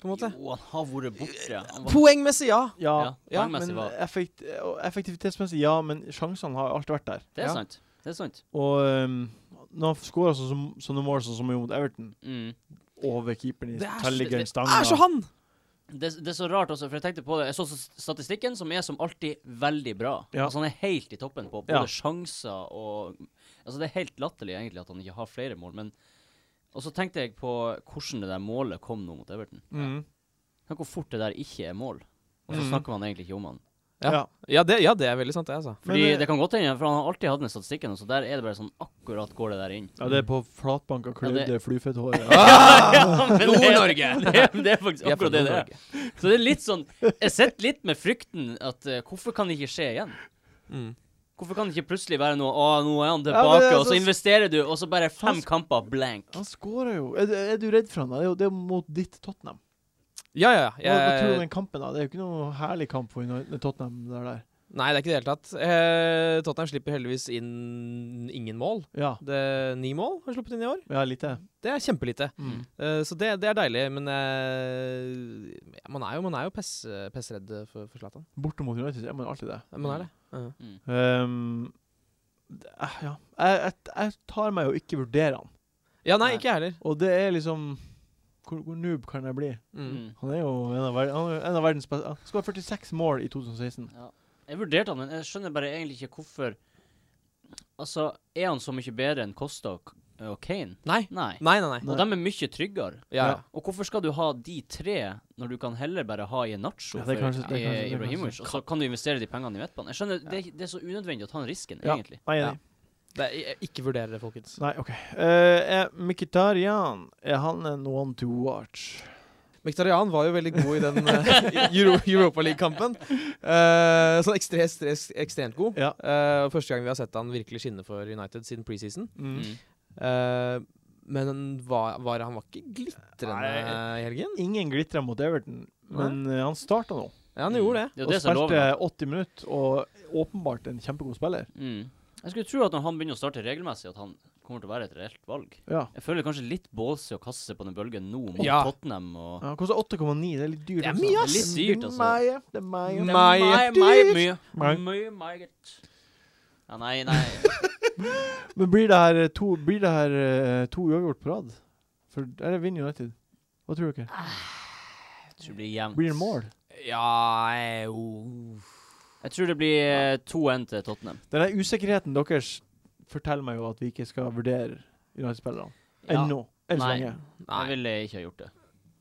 Speaker 5: På en måte.
Speaker 2: Jo, han har vært borte. Han var,
Speaker 5: Poengmessig, ja.
Speaker 2: ja,
Speaker 5: ja,
Speaker 2: poengmessig
Speaker 1: men
Speaker 2: var
Speaker 1: effekt, og effektivitetsmessig, ja, men sjansene har alltid vært der.
Speaker 2: Det er
Speaker 5: ja.
Speaker 2: sant. Det er sant.
Speaker 1: Og ehm, når han skårer så- så- sånne mål sånn som han gjorde mot Everton,
Speaker 2: Mm.
Speaker 1: over keeperen i
Speaker 5: Det er så-
Speaker 1: tellingen
Speaker 2: det
Speaker 1: stanga
Speaker 5: Er så han!
Speaker 2: Det, det er så rart også, for jeg tenkte på det. Jeg så s- statistikken, som er som alltid veldig bra.
Speaker 1: Ja.
Speaker 2: Altså Han er helt i toppen på både
Speaker 1: Ja.
Speaker 2: sjanser og Altså Det er helt latterlig egentlig at han ikke har flere mål, men Og så tenkte jeg på hvordan det der målet kom nå mot Everton.
Speaker 1: Mhm.
Speaker 2: Tenk hvor fort det der ikke er mål. Og så
Speaker 1: Mhm.
Speaker 2: snakker man egentlig ikke om han.
Speaker 5: Ja.
Speaker 1: Ja.
Speaker 5: Ja det, ja, det er veldig sant, det, altså.
Speaker 2: Fordi
Speaker 1: Men, eh,
Speaker 2: det kan godt hende, for han har alltid hatt den statistikken, og så der er det bare sånn akkurat går det der inn.
Speaker 1: Ja, det er på flatbanka klødde
Speaker 2: Ja, det-
Speaker 1: flyfetthår.
Speaker 2: men det- Det, det er faktisk
Speaker 5: Vi er fra
Speaker 2: akkurat det det er.
Speaker 5: Nord-Norge.
Speaker 2: Så det er litt sånn Jeg sitter litt med frykten at eh, hvorfor kan det ikke skje igjen?
Speaker 5: Mm.
Speaker 2: Hvorfor kan det ikke plutselig være noe Å, nå er han
Speaker 1: Ja, men
Speaker 2: tilbake,
Speaker 1: det er
Speaker 2: og så
Speaker 1: så-
Speaker 2: investerer du, og så bare fem
Speaker 1: Han-
Speaker 2: kamper blank.
Speaker 1: Han skårer jo. Er, du- er du redd for han? da? Det er jo det er jo mot ditt Tottenham.
Speaker 5: Ja, ja,
Speaker 1: Hva, hva tror du om
Speaker 5: ja. Jeg,
Speaker 1: den kampen? da? Det er jo ikke noe herlig kamp for United- Tottenham. Der, der.
Speaker 5: nei, det er ikke det hele tatt. Eh, Tottenham slipper heldigvis inn ingen mål.
Speaker 1: Ja,
Speaker 5: Det Ni mål har sluppet inn i år.
Speaker 1: ja, lite.
Speaker 5: Det er kjempelite.
Speaker 1: Mm.
Speaker 5: Eh, så det, det er deilig, men eh, ja, man er jo, man er jo pess, pessredd for, for Zlatan.
Speaker 1: Borte mot United så er man alltid det.
Speaker 5: Man er det. Ja.
Speaker 1: Ehm, det- eh, ja. jeg, jeg, jeg tar meg jo ikke vurdere han.
Speaker 5: Ja, nei,
Speaker 2: Nei.
Speaker 5: ikke jeg heller.
Speaker 1: Og det er liksom Hvor, hvor noob kan jeg bli?
Speaker 5: Mm.
Speaker 2: Mm.
Speaker 1: Han er jo en av, ver han er jo en av verdens beste. Han skåret 46 mål i 2016.
Speaker 2: Ja. Jeg vurderte han, men jeg skjønner bare egentlig ikke hvorfor Altså, er han så mye bedre enn Costa og, og Kane?
Speaker 5: Nei.
Speaker 2: Nei.
Speaker 5: Nei, nei, nei.
Speaker 2: Og de er mye tryggere.
Speaker 5: Ja, ja.
Speaker 2: Og hvorfor skal du ha de tre når du kan heller bare ha i en nacho
Speaker 1: Ja,
Speaker 2: for
Speaker 1: det er kanskje- det er kanskje- det
Speaker 2: i-
Speaker 1: er
Speaker 2: Ibrahimovic, og så kan du investere de pengene i midtbanen? Jeg skjønner, det, er- det er så unødvendig å ta den risken,
Speaker 1: Ja.
Speaker 2: egentlig.
Speaker 1: Nei,
Speaker 5: Ja.
Speaker 1: enig.
Speaker 5: Det er, jeg- ikke vurderer det, folkens.
Speaker 1: Nei, OK. Eh, er Mkhitaryan er han en one to watch?
Speaker 5: Mektarian var jo veldig god i den eh, Euro Europa League-kampen. Eh, sånn ekstre, ekstre, ekstremt god.
Speaker 1: Ja.
Speaker 5: Eh, og første gang vi har sett han virkelig skinne for United siden preseason.
Speaker 2: Mm.
Speaker 5: Eh, men han var, var, han var ikke glitrende
Speaker 1: Nei.
Speaker 5: i helgen.
Speaker 1: Ingen glitra mot Everton, men eh, han starta nå.
Speaker 5: Ja, han gjorde det.
Speaker 2: Ja,
Speaker 1: og
Speaker 2: det som er
Speaker 1: spilte
Speaker 2: loven.
Speaker 1: 80 minutter, og åpenbart en kjempegod spiller.
Speaker 2: Mm. Jeg skulle tro at når han begynner å starte regelmessig, at han kommer til å være et reelt valg.
Speaker 1: Ja.
Speaker 2: Jeg føler kanskje litt båsig å kaste seg på den bølgen nå mot
Speaker 5: Ja.
Speaker 2: Tottenham og
Speaker 1: Han koster 8,9, det er litt dyrt.
Speaker 5: Det er
Speaker 1: også.
Speaker 5: mye,
Speaker 2: ass. Litt dyrt, altså.
Speaker 1: Mye, det er mye.
Speaker 5: Det er
Speaker 2: Mye, mye, mye.
Speaker 1: Mye.
Speaker 2: Mye, meget. Ja, nei, nei.
Speaker 1: Men blir det her eh, to, blir det her eh, to uavgjort på rad? For der er Vinn United. Hva tror dere?
Speaker 2: Jeg tror det blir jevnt.
Speaker 1: Blir det mål?
Speaker 5: Ja eh, oh.
Speaker 2: Jeg tror det blir eh, 2-1 til Tottenham.
Speaker 1: Den der usikkerheten deres forteller meg jo at vi ikke skal vurdere United-spillerne.
Speaker 2: Ja.
Speaker 1: Ennå. Enn så
Speaker 2: Nei.
Speaker 1: lenge.
Speaker 5: Nei.
Speaker 2: Jeg ville ikke ha gjort det.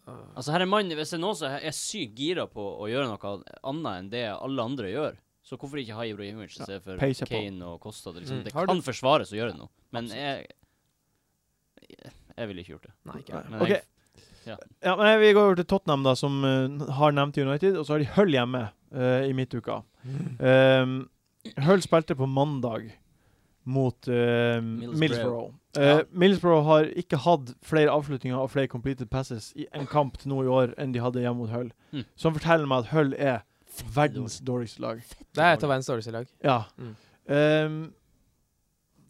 Speaker 2: Altså, her er mannen, Hvis det er noen som er sykt gira på å gjøre noe annet enn det alle andre gjør, så hvorfor ikke ha Ibrahimovic i
Speaker 1: Ja,
Speaker 2: stedet for
Speaker 1: peiser på.
Speaker 2: Kane og Costa? Det, liksom,
Speaker 5: Mm.
Speaker 2: det
Speaker 5: Har du-
Speaker 2: kan forsvares å gjøre det nå, men jeg Jeg ville ikke gjort det.
Speaker 5: Nei, ikke jeg.
Speaker 2: Men
Speaker 1: Ok.
Speaker 2: jeg,
Speaker 1: Ja, men Vi går over til Tottenham, da, som eh, har nevnt United. Og så har de Hull hjemme eh, i midtuka. Um, Hull spilte på mandag mot eh,
Speaker 2: Middlesbrough.
Speaker 1: Middlesbrough. Eh,
Speaker 5: Ja.
Speaker 1: Middlesbrough har ikke hatt flere avslutninger og flere completed passes i en kamp til nå i år enn de hadde hjemme mot Hull.
Speaker 2: Mm.
Speaker 1: Som forteller meg at Hull er verdens dårligste lag.
Speaker 5: Det er et av verdens dårligste lag.
Speaker 1: Ja.
Speaker 5: Mm.
Speaker 1: Um,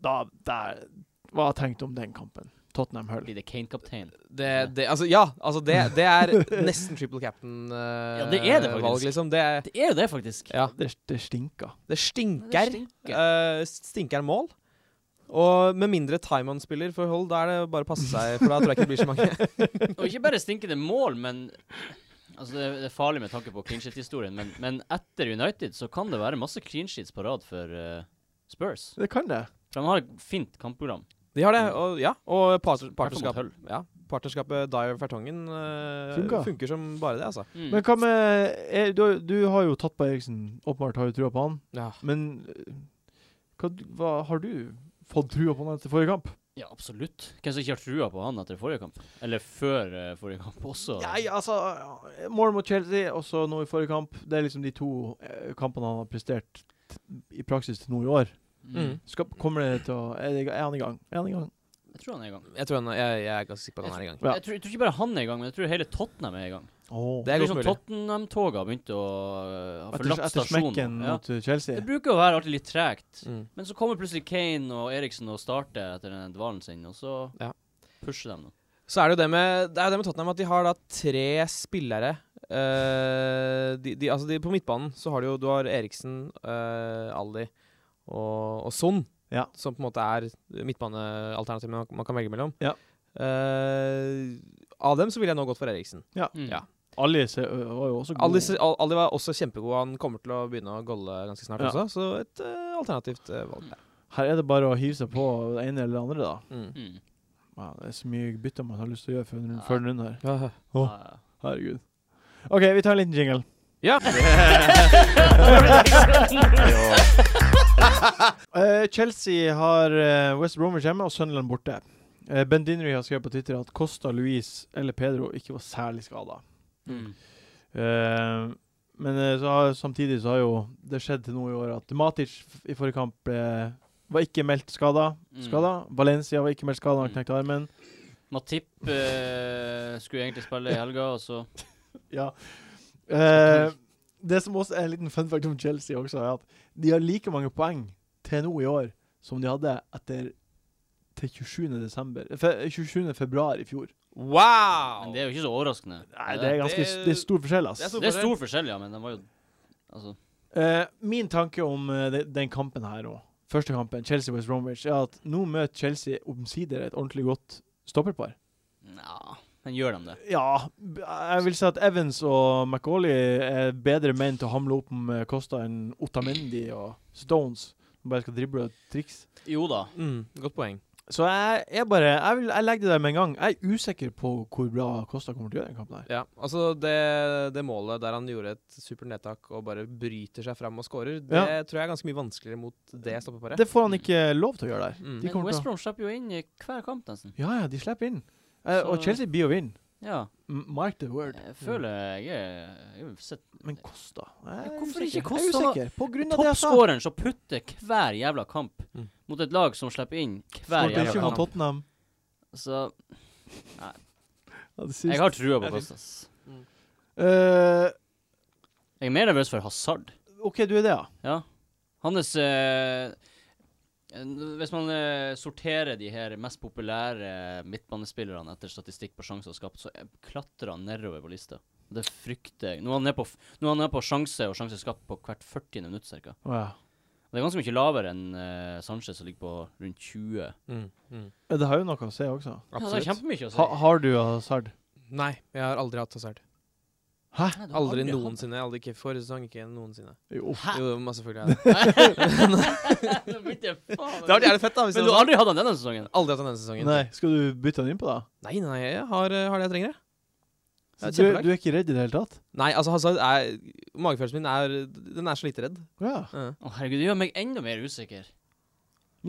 Speaker 1: da, der, hva har jeg tenkt om den kampen? Tottenham-Hull.
Speaker 2: Blir det Kane-kaptein?
Speaker 5: Det, det, altså, ja, altså det, det er nesten triple captain-valg,
Speaker 2: Ja, det er det faktisk.
Speaker 5: liksom. Det, er-
Speaker 2: Det er jo det, faktisk.
Speaker 5: ja,
Speaker 1: Det, det stinker.
Speaker 5: det stinker.
Speaker 2: stinker.
Speaker 5: Eh, stinker mål. Og med mindre Timon-spiller for Hold, da er det bare å passe seg, for da tror jeg ikke det blir så mange.
Speaker 2: Og ikke bare stinkende mål, men Altså, det, det er farlig med tanke på clean shit-historien, men, men etter United så kan det være masse clean shits på rad for eh, Spurs.
Speaker 1: Det kan det.
Speaker 2: For de har et fint kampprogram.
Speaker 5: De har det, og ja. Og
Speaker 2: mot
Speaker 5: partner,
Speaker 2: Hull.
Speaker 5: partnerskapet, ja, partnerskapet Dyer Fertongen eh,
Speaker 1: Funka.
Speaker 5: funker som bare det, altså.
Speaker 2: Mm.
Speaker 1: Men hva med er, du, du har jo tatt på Eriksen. Åpenbart har du trua på han.
Speaker 5: Ja.
Speaker 1: Men eh, hva, hva har du fått trua på han etter forrige kamp?
Speaker 2: Ja, absolutt. Hvem som ikke har trua på han etter forrige kamp? Eller før eh, forrige kamp også?
Speaker 1: Nei, altså Mål mot Chelsea, og så nå i forrige kamp. Det er liksom de to eh, kampene han har prestert t- i praksis til nå i år.
Speaker 2: Mm.
Speaker 1: Skal, kommer det til å Er, det, er han i gang? Er han i gang?
Speaker 2: Jeg tror han er i gang.
Speaker 5: Jeg, tror han, jeg, jeg er ganske sikker på at han er i gang.
Speaker 1: Ja.
Speaker 2: Jeg, tror, jeg tror ikke bare han er i gang, men jeg tror hele Tottenham er i gang.
Speaker 1: Åh.
Speaker 5: Det er
Speaker 2: Jeg
Speaker 5: godt
Speaker 2: tror
Speaker 5: mulig.
Speaker 2: sånn Tottenham-toget har begynt å øh, ha
Speaker 1: etter,
Speaker 2: forlatt
Speaker 1: etter smekken
Speaker 2: stasjonen. Ja.
Speaker 1: mot eh,
Speaker 2: Det
Speaker 1: Chelsea.
Speaker 2: bruker å være alltid litt tregt,
Speaker 5: Mm.
Speaker 2: men så kommer plutselig Kane og Eriksen og starter etter den dvalen sin, og så
Speaker 5: Ja.
Speaker 2: pusher de nå.
Speaker 5: Så er det jo det med, det er jo det med Tottenham at de har da tre spillere eh, de, de, altså de, På midtbanen så har du jo du har Eriksen, eh, Aldi og, og Son,
Speaker 1: Ja.
Speaker 5: som på en måte er midtbanealternativet man, man kan velge mellom.
Speaker 1: Ja.
Speaker 5: Eh, av dem så ville jeg nå gått for Eriksen.
Speaker 2: Mm.
Speaker 5: Ja.
Speaker 1: Ali se- ø, var jo også god.
Speaker 5: Aldi, Al- Aldi var også kjempegod. Han kommer til å begynne å golle ganske snart
Speaker 1: Ja.
Speaker 5: også, så et eh, alternativt eh, valg der.
Speaker 1: Her er det bare å hive seg på det ene eller det andre, da.
Speaker 5: Mm.
Speaker 2: Mm.
Speaker 1: Ja, det er så mye bytter man har lyst til å gjøre før en- før en runde her. Åh.
Speaker 2: Ja, ja.
Speaker 1: Herregud. OK, vi tar en liten jingle.
Speaker 5: Ja.
Speaker 1: Eh, Chelsea har eh, West Bromwich hjemme og Sunderland borte. Eh, ben Dinnery har skrevet på Twitter at Costa Luis eller Pedro ikke var særlig skada.
Speaker 2: Mm.
Speaker 1: Eh, men eh, så har, samtidig så har jo det skjedd til nå i år at Matic f- i forrige kamp ble, var ikke meldt skada.
Speaker 2: Mm.
Speaker 1: skada. Valencia var ikke meldt skada, han
Speaker 2: Mm.
Speaker 1: knekte armen.
Speaker 2: Matip eh, skulle egentlig spille i helga, og så
Speaker 1: Ja. Eh, det som også er en liten fun fact om Chelsea, også, er at de har like mange poeng til nå i år som de hadde etter til 27. Desember, eh, fe, 27. februar i fjor.
Speaker 5: Wow!
Speaker 2: Men det er jo ikke så overraskende.
Speaker 1: Nei, det er ganske
Speaker 5: det-
Speaker 1: det er stor forskjell, ass.
Speaker 5: det er stor-
Speaker 2: det er stor forskjell, ja, men de var jo Altså.
Speaker 1: Eh, min tanke om eh, de, den kampen her nå, første kampen, Chelsea-West Bromwich, er at nå møter Chelsea omsider et ordentlig godt stopperpar.
Speaker 2: Nja, men gjør de det?
Speaker 1: Ja, b- jeg vil si at Evans og McAuley er bedre menn til å hamle opp med Costa enn Otamendi og Stones. som bare skal drible og triks.
Speaker 2: Jo da.
Speaker 5: Mm, godt poeng.
Speaker 1: Så jeg er bare Jeg, vil, jeg legger det der med en gang. Jeg er usikker på hvor bra Costa kommer til å gjøre den kampen her.
Speaker 5: Ja, altså det, det målet der han gjorde et supert nedtak og bare bryter seg fram og scorer, det
Speaker 1: Ja.
Speaker 5: tror jeg er ganske mye vanskeligere mot det stoppeparet.
Speaker 1: Det
Speaker 2: Mm.
Speaker 1: får han ikke lov til å gjøre der.
Speaker 5: Mm.
Speaker 1: De kommer
Speaker 2: Men
Speaker 1: til
Speaker 2: West
Speaker 1: å
Speaker 2: Brom slipper jo inn i hver kamp, nesten.
Speaker 1: Ja, ja, de slipper inn. Eh, og
Speaker 2: Så-
Speaker 1: Chelsea blir å vinne.
Speaker 2: Ja.
Speaker 1: M- Mark the word.
Speaker 2: Jeg føler jeg er jeg har sett
Speaker 1: Men Costa jeg
Speaker 2: Ja,
Speaker 1: er
Speaker 2: hvorfor
Speaker 1: usikker.
Speaker 2: ikke
Speaker 1: Jeg er
Speaker 2: Costa?
Speaker 1: usikker. På grunn av det jeg sa.
Speaker 2: toppskåreren som putter hver jævla kamp
Speaker 5: Mm.
Speaker 2: mot et lag som slipper inn hver
Speaker 1: Skårte ikke
Speaker 2: jævla
Speaker 1: mot
Speaker 2: kamp.
Speaker 1: Tottenham.
Speaker 2: Så
Speaker 1: Ja, det
Speaker 2: jeg
Speaker 1: siste.
Speaker 2: har trua på
Speaker 5: Jeg
Speaker 2: Kostas.
Speaker 1: Eh,
Speaker 2: Jeg er mer nervøs for Hazard.
Speaker 1: OK, du er det, ja.
Speaker 2: Ja. Hans eh, n- Hvis man eh, sorterer de her mest populære eh, midtbanespillerne etter statistikk på sjanser skapt, så eh, klatrer han nedover på lista. Det frykter jeg. Nå er han nede på, f- nå er han nede på sjanse og sjanse skapt på hvert 40. minutt cirka.
Speaker 1: Å, ja.
Speaker 2: Det er ganske mye lavere enn eh, Sanchez, som ligger på rundt 20.
Speaker 5: Mm, mm.
Speaker 1: Men Det har jo noe å si også.
Speaker 2: Ja, det er
Speaker 5: Absolutt.
Speaker 2: kjempemye å si.
Speaker 1: Ha, har du Hazard?
Speaker 5: Nei, jeg har aldri hatt hasard.
Speaker 2: Nei, du har
Speaker 5: Aldri
Speaker 2: hatt-
Speaker 5: noensinne. Aldri ikke forrige sesong, ikke noensinne.
Speaker 1: Jo.
Speaker 5: Jo, masse selvfølgelig har jeg det.
Speaker 2: Nå begynte jeg faen
Speaker 5: Det hadde vært jævlig fett, da. Hvis
Speaker 2: Men du
Speaker 5: jeg hadde
Speaker 2: har aldri hatt han denne sesongen?
Speaker 5: aldri hatt den denne sesongen.
Speaker 1: Nei, skal du bytte den inn på, da?
Speaker 5: nei, nei, jeg har, eh, har det jeg trenger, jeg. Så
Speaker 1: du,
Speaker 5: kjempelag.
Speaker 1: du er ikke redd i det hele tatt?
Speaker 5: Nei, altså Hazard er Magefølelsen min er Den er så lite redd.
Speaker 1: Ja.
Speaker 5: Ja.
Speaker 2: Å herregud, det gjør meg enda mer usikker.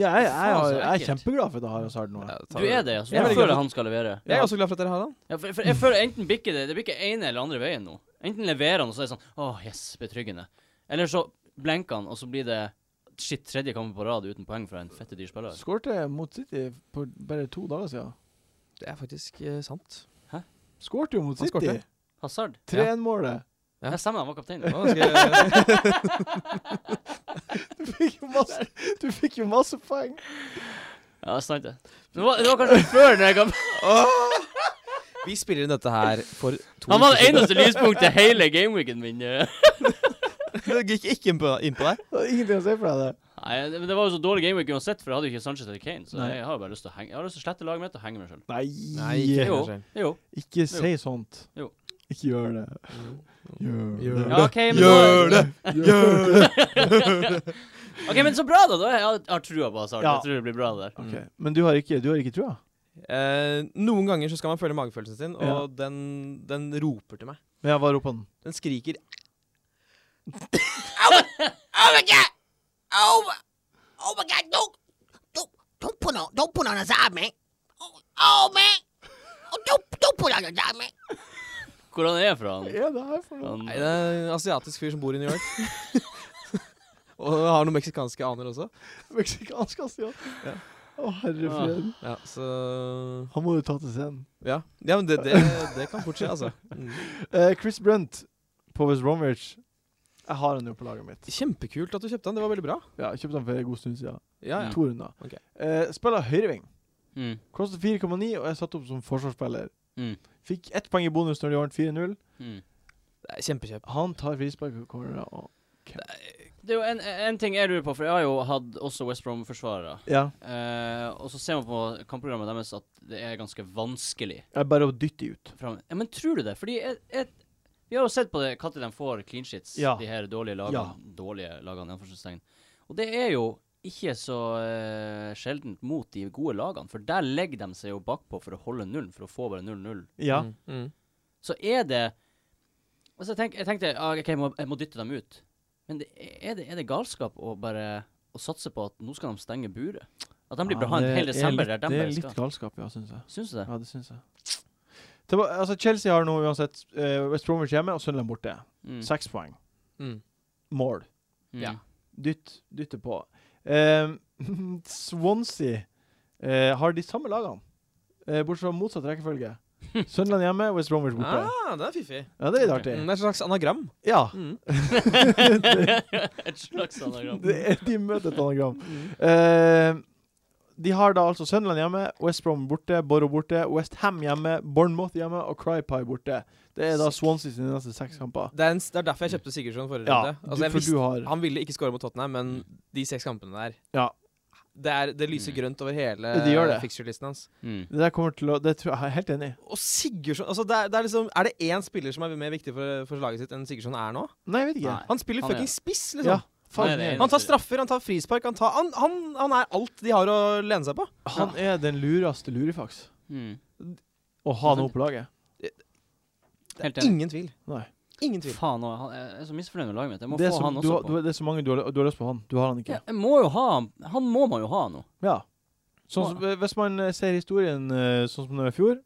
Speaker 1: Ja, jeg, jeg,
Speaker 2: Faen, så
Speaker 1: har- jeg er
Speaker 2: ekkelt.
Speaker 1: kjempeglad for at jeg har Hazard nå.
Speaker 2: Du
Speaker 5: Jeg tar-
Speaker 2: er det, altså.
Speaker 5: Jeg
Speaker 2: Du
Speaker 5: er veldig glad
Speaker 2: føler
Speaker 5: for-
Speaker 2: han skal levere.
Speaker 5: Jeg er også glad for at dere har han.
Speaker 2: Ja, for, for jeg føler enten bikker det Det blir ikke ene eller andre veien nå. Enten leverer han, og så er det sånn Å, yes, betryggende. Eller så blenker han, og så blir det Shit, tredje kamp på rad uten poeng fra en fette dyr spiller.
Speaker 1: Skårte mot City for bare to dager siden.
Speaker 5: Det er faktisk eh, sant.
Speaker 1: Skårte jo mot
Speaker 5: Han
Speaker 1: City!
Speaker 5: skårte.
Speaker 2: Hazard.
Speaker 1: 3-1-målet.
Speaker 5: Ja.
Speaker 2: Jeg stemmer, han var
Speaker 5: Det
Speaker 2: kaptein.
Speaker 5: var ganske
Speaker 1: Du fikk jo masse, du fikk jo masse poeng!
Speaker 2: Ja, det er sant, det. Det var, det var kanskje før den her kampen.
Speaker 5: Vi spiller inn dette her for to
Speaker 2: Han var det
Speaker 5: uker siden.
Speaker 2: eneste lyspunktet hele gameweeken min. eh.
Speaker 5: Det gikk ikke inn på, inn på deg.
Speaker 1: Det var ingenting å si for deg, det.
Speaker 2: Nei, det- men det var jo så dårlig gameweek uansett, for jeg hadde jo ikke Sanchez eller Kane. Så
Speaker 1: Nei.
Speaker 2: jeg har jo bare lyst til å henge Jeg har lyst til å slette laget mitt og henge meg sjøl.
Speaker 1: Nei,
Speaker 5: ikke
Speaker 2: Jo.
Speaker 5: kanskje.
Speaker 2: Jo.
Speaker 1: ikke si sånt.
Speaker 2: Jo.
Speaker 1: Ikke gjør det.
Speaker 5: Gjør
Speaker 1: Gjør det.
Speaker 2: Ja, ok, men
Speaker 5: Gjør
Speaker 2: da,
Speaker 5: det! Gjør det!
Speaker 2: Ok, men så bra, da! da. Jeg har- jeg har trua på Hazard.
Speaker 1: Ja.
Speaker 2: Jeg tror det blir bra, det der.
Speaker 1: Ok, Men du har ikke, du har ikke trua?
Speaker 5: Eh, noen ganger så skal man føle magefølelsen sin, og
Speaker 1: Ja.
Speaker 5: den, den roper til meg.
Speaker 1: Men jeg var oppe på den.
Speaker 5: Den skriker
Speaker 6: Oh my god! Oh my, oh my god! No, no, no, Don't put on don't put on a side, man. Oh, oh man. Oh, don't don't put on a side, man.
Speaker 2: Hvor han er fra? Han,
Speaker 1: er det her for noe?
Speaker 5: Nei,
Speaker 2: han
Speaker 5: det er en asiatisk fyr som bor i New York. og har noen meksikanske aner også.
Speaker 1: Meksikansk asiat?
Speaker 5: Ja.
Speaker 1: Å, herre
Speaker 2: Ah.
Speaker 1: fred.
Speaker 5: Ja, så
Speaker 1: Han må du ta til scenen.
Speaker 5: Ja, ja men det, det, det kan fort skje, altså. Mm.
Speaker 1: Eh, Chris Brent på West Bromwich. Jeg har han jo på laget mitt.
Speaker 5: Kjempekult at du kjøpte den. Det var veldig bra.
Speaker 1: Ja, jeg Kjøpte han for en god stund siden.
Speaker 5: Ja,
Speaker 2: Mm.
Speaker 5: ja.
Speaker 1: To runder.
Speaker 5: Ok.
Speaker 1: Eh, spiller høyreving.
Speaker 2: mm,
Speaker 1: Koster 4,9 og er satt opp som forsvarsspiller.
Speaker 2: mm,
Speaker 1: Fikk ett poeng i bonus når de vant 4-0.
Speaker 2: mm.
Speaker 5: Det er Kjempekjøp.
Speaker 1: Han tar frispark og corner og
Speaker 2: Det er jo en, en ting jeg lurer på, for jeg har jo hatt også West Brom-forsvarere.
Speaker 1: Ja.
Speaker 2: Eh, og så ser man på kampprogrammet deres at det er ganske vanskelig.
Speaker 1: Jeg er bare å dytte de ut.
Speaker 2: Fram. Ja, men tror du det? Fordi jeg, jeg, vi har jo sett på det når de får clean sheets,
Speaker 1: Ja.
Speaker 2: de her dårlige lagene.
Speaker 1: Ja.
Speaker 2: Dårlige lagene i anførselstegn. Og det er jo ikke så eh, sjeldent mot de gode lagene, for der legger de seg jo bakpå for å holde nullen, for å få bare 0-0.
Speaker 1: Ja.
Speaker 5: Mm. Mm.
Speaker 2: Så er det Altså, jeg, tenk, jeg tenkte ah, OK, jeg må, jeg må dytte dem ut. Men det, er, det, er det galskap å bare å satse på at nå skal de stenge buret? At de blir bra
Speaker 1: Ja,
Speaker 2: en
Speaker 1: det
Speaker 2: hel
Speaker 1: er
Speaker 2: desember
Speaker 1: litt-
Speaker 2: der de
Speaker 1: Det er
Speaker 2: bare
Speaker 1: litt
Speaker 2: skal?
Speaker 1: galskap, ja, syns jeg.
Speaker 2: Syns du det?
Speaker 1: Ja, det syns jeg. Tilba altså, Chelsea har nå uansett eh, West Bromwich hjemme og Sunderland borte.
Speaker 2: Mm.
Speaker 1: Seks poeng.
Speaker 5: Mm.
Speaker 1: Mål.
Speaker 2: Mm.
Speaker 5: Ja.
Speaker 1: Dytt, dytte på. Ehm, Swansea eh, har de samme lagene, eh, bortsett fra motsatt rekkefølge. Sunderland hjemme, West Bromwich borte.
Speaker 5: Ah, den er fiffig.
Speaker 1: Ja, det er litt
Speaker 2: ok.
Speaker 1: artig.
Speaker 5: Mm, det er et slags anagram.
Speaker 1: Ja.
Speaker 5: Mm.
Speaker 2: Et slags anagram.
Speaker 1: Det er, de møter et anagram.
Speaker 2: Mm.
Speaker 1: Ehm, de har da altså Sunderland hjemme, West Brom borte, Borough borte, West Ham hjemme, Bournemouth hjemme og Crypie borte. Det er da Swansea sine neste seks kamper.
Speaker 5: Det er, en, s- det er derfor jeg kjøpte Sigurdsson forrige
Speaker 1: Ja,
Speaker 5: runde.
Speaker 1: du,
Speaker 5: Altså, jeg
Speaker 1: for
Speaker 5: visste,
Speaker 1: du har
Speaker 5: han ville ikke skåre mot Tottenham, men de seks kampene der
Speaker 1: Ja.
Speaker 5: Det, er, det lyser
Speaker 2: Mm.
Speaker 5: grønt over hele
Speaker 1: Det gjør det.
Speaker 5: fixture-listen hans.
Speaker 2: Mm.
Speaker 1: Det der kommer til å Det tror jeg, jeg er helt enig i.
Speaker 5: Og Sigurdsson altså det er, det er, liksom, er det én spiller som er mer viktig for, for laget sitt enn Sigurdsson er nå?
Speaker 1: Nei, jeg vet ikke.
Speaker 2: Nei.
Speaker 5: Han spiller
Speaker 2: Han er-
Speaker 5: fucking spiss,
Speaker 1: Ja.
Speaker 5: liksom.
Speaker 1: Faen,
Speaker 2: Nei, det er
Speaker 1: jeg-
Speaker 2: enig.
Speaker 5: Han tar straffer, han tar frispark, han tar Han, han, han er alt de har å lene seg på.
Speaker 1: han er den lureste lurifaks
Speaker 2: Mm.
Speaker 1: å ha nå på laget.
Speaker 2: Helt enig.
Speaker 5: Ingen tvil.
Speaker 1: Nei.
Speaker 5: Ingen tvil.
Speaker 2: Faen òg, han- jeg er så misfornøyd med laget mitt. Jeg må
Speaker 1: Det er,
Speaker 2: få
Speaker 1: så,
Speaker 2: han
Speaker 1: du,
Speaker 2: også
Speaker 1: har- du,
Speaker 2: på.
Speaker 1: har- det er så mange du har, du har lyst på han. Du har han ikke.
Speaker 2: Ja, jeg må jo ha han. Han må man jo ha nå.
Speaker 1: Ja. Sånn, som- hvis man eh, ser historien eh, sånn som den var i fjor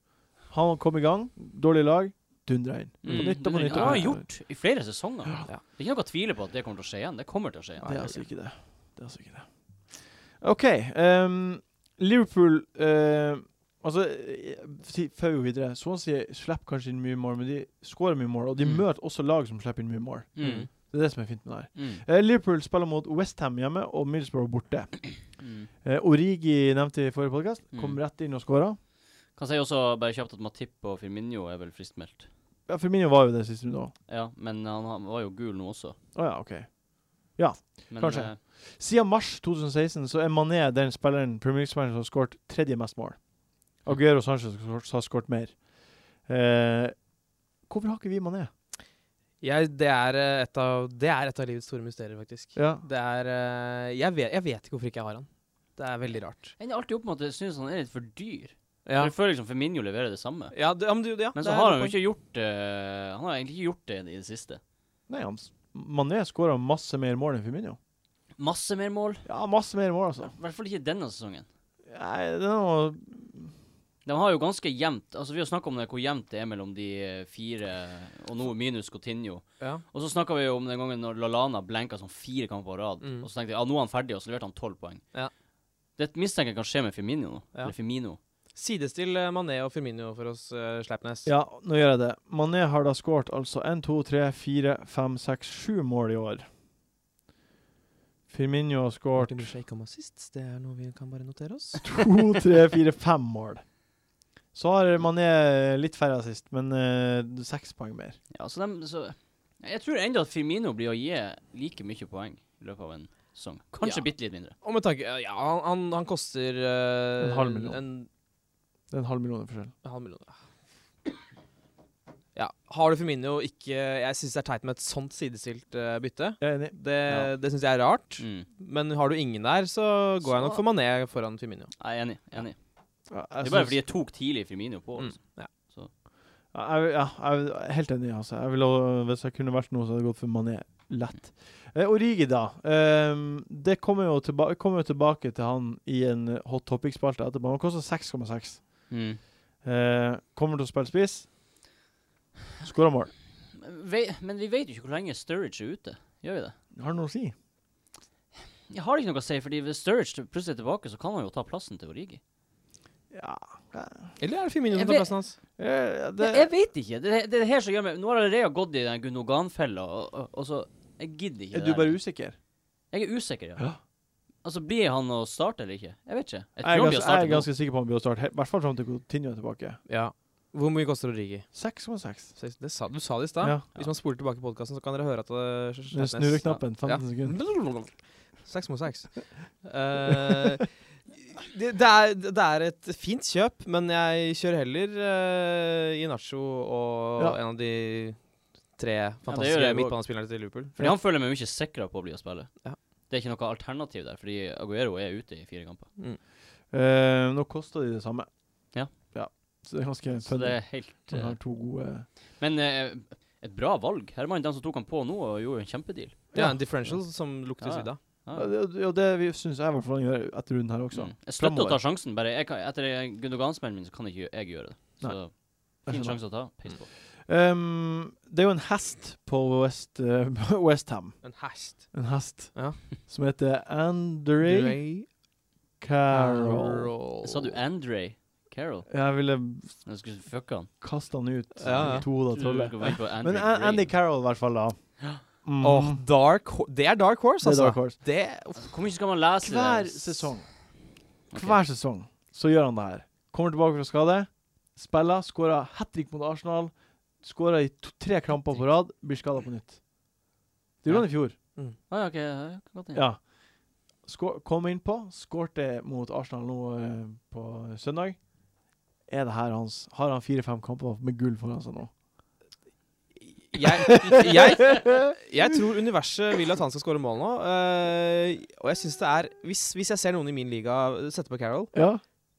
Speaker 1: Han kom i gang, dårlig lag, dundra inn. På
Speaker 2: Mm.
Speaker 1: nytt og på
Speaker 2: Det
Speaker 1: nytt.
Speaker 2: har
Speaker 1: og
Speaker 2: han
Speaker 1: på nytt.
Speaker 2: gjort i flere sesonger.
Speaker 5: Ja.
Speaker 2: Det er ikke noe å tvile på at det kommer til å skje igjen. Det kommer til å skje
Speaker 1: Det
Speaker 2: igjen.
Speaker 1: er altså ikke det. Det er altså ikke det. OK. ehm, Liverpool eh, Altså, eh, si- før vi går videre Swansea slipper kanskje inn mye mål, men de skårer mye mål. Og de
Speaker 2: Mm.
Speaker 1: møter også lag som slipper inn mye mål. Det
Speaker 2: Mm.
Speaker 1: er det som er fint med det her.
Speaker 2: Mm.
Speaker 1: Eh, Liverpool spiller mot Westham hjemme og Middlesbrough borte.
Speaker 2: Mm.
Speaker 1: Eh, Origi nevnte i forrige podkast. Kom
Speaker 2: Mm.
Speaker 1: rett inn og skåra.
Speaker 2: Kan si også bare kjapt at Matip og Firmino er vel fristmeldt.
Speaker 1: Ja, Firmino var jo det siste runde òg.
Speaker 2: Ja, men han, han var jo gul nå også.
Speaker 1: Å ja, OK.
Speaker 2: Men,
Speaker 1: Kanskje.
Speaker 2: eh,
Speaker 1: Siden mars 2016 så er Mané den spilleren Premier League-spilleren som har skåret tredje mest mål. Aguero Sanchez har skåret- har skåret mer. Eh, hvorfor har ikke vi Mané?
Speaker 5: Jeg, det, er eh, et av, det er et av livets store mysterier, faktisk.
Speaker 1: Ja.
Speaker 5: Det er eh, jeg vet, jeg vet ikke hvorfor ikke jeg har han. Det er veldig rart.
Speaker 2: jeg ender alltid opp med at jeg synes han er litt for dyr.
Speaker 5: Ja,
Speaker 2: For Jeg føler liksom Firmino leverer det samme.
Speaker 5: ja, det, ja, men, du, ja
Speaker 2: Men
Speaker 5: det
Speaker 2: så
Speaker 5: er
Speaker 2: har
Speaker 5: et
Speaker 2: han jo
Speaker 5: poeng.
Speaker 2: ikke gjort eh, Han har egentlig ikke gjort det i det siste.
Speaker 1: Nei, han, s- Mané skåra masse mer mål enn Firmino.
Speaker 2: Masse mer mål.
Speaker 1: Ja, masse mer mål, altså.
Speaker 2: I hvert fall ikke denne sesongen.
Speaker 1: Nei, det er noe
Speaker 2: De har jo ganske jevnt Altså Vi har snakka om det hvor jevnt det er mellom de eh, fire, og nå minus Coutinho.
Speaker 5: Ja.
Speaker 2: Og så snakka vi jo om den gangen når Lalana blenka sånn fire kamper på rad.
Speaker 5: Mm.
Speaker 2: Og så tenkte jeg ja, nå er han ferdig, og så leverte han tolv poeng.
Speaker 5: Ja.
Speaker 2: Det mistenker jeg kan skje med Firmino nå.
Speaker 5: Ja.
Speaker 2: Eller Firmino.
Speaker 5: Sidestill eh, Mané og Firmino for oss, uh, Sleipnes.
Speaker 1: Ja, nå gjør jeg det. Mané har da skåret altså 1, 2, 3, 4, 5, 6, 7 mål i år. Firmino har skåret
Speaker 5: Martin Bursay kom assist, det er noe vi kan bare notere oss.
Speaker 1: 2, 3, 4, 5 mål. Så har Mané litt færre assist, men eh, seks poeng mer.
Speaker 2: Ja, så dem så Jeg tror ennå at Firmino blir å gi like mye poeng i løpet av en sesong. Kanskje
Speaker 5: Ja.
Speaker 2: bitte litt mindre.
Speaker 5: Og med tanke eh, Ja, han, han, han koster eh,
Speaker 1: En halv million.
Speaker 5: En
Speaker 1: Det er en halv million i forskjell.
Speaker 5: halv million. Ja. Har du Firmino ikke Jeg syns det er teit med et sånt sidestilt eh, bytte.
Speaker 1: Jeg er enig.
Speaker 5: Det,
Speaker 2: Ja.
Speaker 5: det syns jeg er rart.
Speaker 2: Mm.
Speaker 5: Men har du ingen der, så går jeg nok for Mané foran Firmino.
Speaker 2: Jeg er enig. enig.
Speaker 1: Ja, jeg
Speaker 2: Det er bare
Speaker 1: syns-
Speaker 2: fordi jeg tok tidlig Firmino på.
Speaker 5: Mm.
Speaker 2: altså.
Speaker 1: Ja, jeg, ja, jeg er helt enig. Altså. Jeg ville, også- hvis jeg kunne valgt noe, så hadde jeg gått for Mané Lett. Eh, Origi, da. Ehm, det kommer jo, tilba kommer jo tilbake til han i en eh, hot topic-spalte etterpå. Han koster 6,6.
Speaker 2: Mm.
Speaker 1: Eh, kommer til å spille spiss. Skåra mål.
Speaker 2: Men vei- Men vi vet jo ikke hvor lenge Sturridge er ute. Gjør vi det?
Speaker 1: Har det noe å si?
Speaker 2: Jeg har ikke noe å si, fordi hvis Sturridge plutselig er tilbake, så kan han jo ta plassen til Origi.
Speaker 1: Ja
Speaker 5: Eller er det Firmino
Speaker 2: Jeg
Speaker 5: som tar
Speaker 2: vet-
Speaker 5: plassen hans?
Speaker 1: Eh,
Speaker 2: Det,
Speaker 1: det,
Speaker 2: jeg vet ikke. Det, det er det her som gjør meg Nå har jeg allerede gått i den Gundogan-fella, og, og, og så Jeg gidder ikke
Speaker 1: Er
Speaker 2: det
Speaker 1: du
Speaker 2: der.
Speaker 1: bare usikker?
Speaker 2: Jeg er usikker, ja.
Speaker 1: Ja.
Speaker 2: Altså, blir han å starte eller ikke? Jeg vet ikke.
Speaker 1: Jeg er
Speaker 2: Jeg tror han
Speaker 1: ganske,
Speaker 2: blir å
Speaker 1: jeg
Speaker 2: starte
Speaker 1: er
Speaker 2: nå.
Speaker 1: ganske sikker på han blir å starte, i hvert fall fram til Coutinho er tilbake.
Speaker 5: Ja. Hvor mye koster Origi?
Speaker 1: 6,6.
Speaker 5: Se- Det sa, du sa det i stad.
Speaker 1: Ja.
Speaker 5: Hvis man spoler tilbake podkasten, så kan dere høre at det
Speaker 1: Den snurreknappen, 15 sekunder.
Speaker 5: sekunder. Seks mot seks. Eh, det, det, er, det er et fint kjøp, men jeg kjører heller uh, Inacho og
Speaker 1: Ja.
Speaker 5: en av de tre
Speaker 2: gjør
Speaker 5: fantastiske
Speaker 2: jeg også.
Speaker 5: midtbanespillerne til Liverpool.
Speaker 2: Fordi han føler meg mye sikrere på å bli å spille.
Speaker 5: Ja.
Speaker 2: Det er ikke noe alternativ der, fordi Aguero er ute i fire kamper.
Speaker 5: Mm.
Speaker 1: Eh, nå koster de det samme.
Speaker 2: Ja.
Speaker 1: Så det er ganske
Speaker 2: Så
Speaker 1: funny.
Speaker 2: det er helt
Speaker 1: Han
Speaker 2: eh,
Speaker 1: har to gode
Speaker 2: Men eh, et bra valg. Herman, den som tok han på nå, og gjorde jo en kjempedeal.
Speaker 5: Det er en differential som
Speaker 2: Ja,
Speaker 5: lukter
Speaker 2: ja.
Speaker 5: svidd av.
Speaker 2: Ja.
Speaker 1: Ja, det, ja, det syns jeg i hvert fall han gjør etter runden her også.
Speaker 2: Mm. Jeg støtter å ta
Speaker 1: Fremover.
Speaker 2: sjansen, bare. Jeg kan, etter Gundogan-smellen min, så kan ikke jeg gjøre det. Så
Speaker 1: Jeg
Speaker 2: fin
Speaker 1: skjønner. Mm.
Speaker 2: sjanse å ta. Peis på.
Speaker 1: Um, det er jo en hest på West, eh, Westham.
Speaker 5: En hest.
Speaker 1: En hest
Speaker 5: Ja.
Speaker 1: som heter Andre Carroll.
Speaker 2: Sa du Andre Carroll?
Speaker 1: Jeg ville
Speaker 2: Jeg skulle fucke han.
Speaker 1: kaste han ut.
Speaker 5: Ja, ja.
Speaker 1: To av
Speaker 2: Trodde du
Speaker 1: trollet.
Speaker 2: skulle være på Andre
Speaker 1: Men An- Andy
Speaker 2: Gray.
Speaker 1: Carroll, i hvert fall, da. Mm.
Speaker 5: Åh, dark Ho- Det er dark horse,
Speaker 1: det er
Speaker 5: altså.
Speaker 1: Dark Horse.
Speaker 5: Det,
Speaker 2: Hvor mye skal man lese? det?
Speaker 1: Hver
Speaker 2: S-
Speaker 1: sesong
Speaker 2: Ok.
Speaker 1: Hver sesong så gjør han det her. Kommer tilbake fra skade, spiller, skårer hat trick mot Arsenal, skårer i to, tre kamper på rad, blir skada på nytt. Det gjorde han i fjor.
Speaker 2: Å ja, ok. ja, jeg kan godt inn.
Speaker 1: Ja. Skå, kom innpå, skårte mot Arsenal nå eh, på søndag. Er det her hans Har han fire-fem kamper med gull foran seg nå?
Speaker 5: jeg, jeg, jeg tror universet vil at han skal skåre mål nå. eh, og jeg synes det er hvis, hvis jeg ser noen i min liga sette på Carroll
Speaker 1: Ja.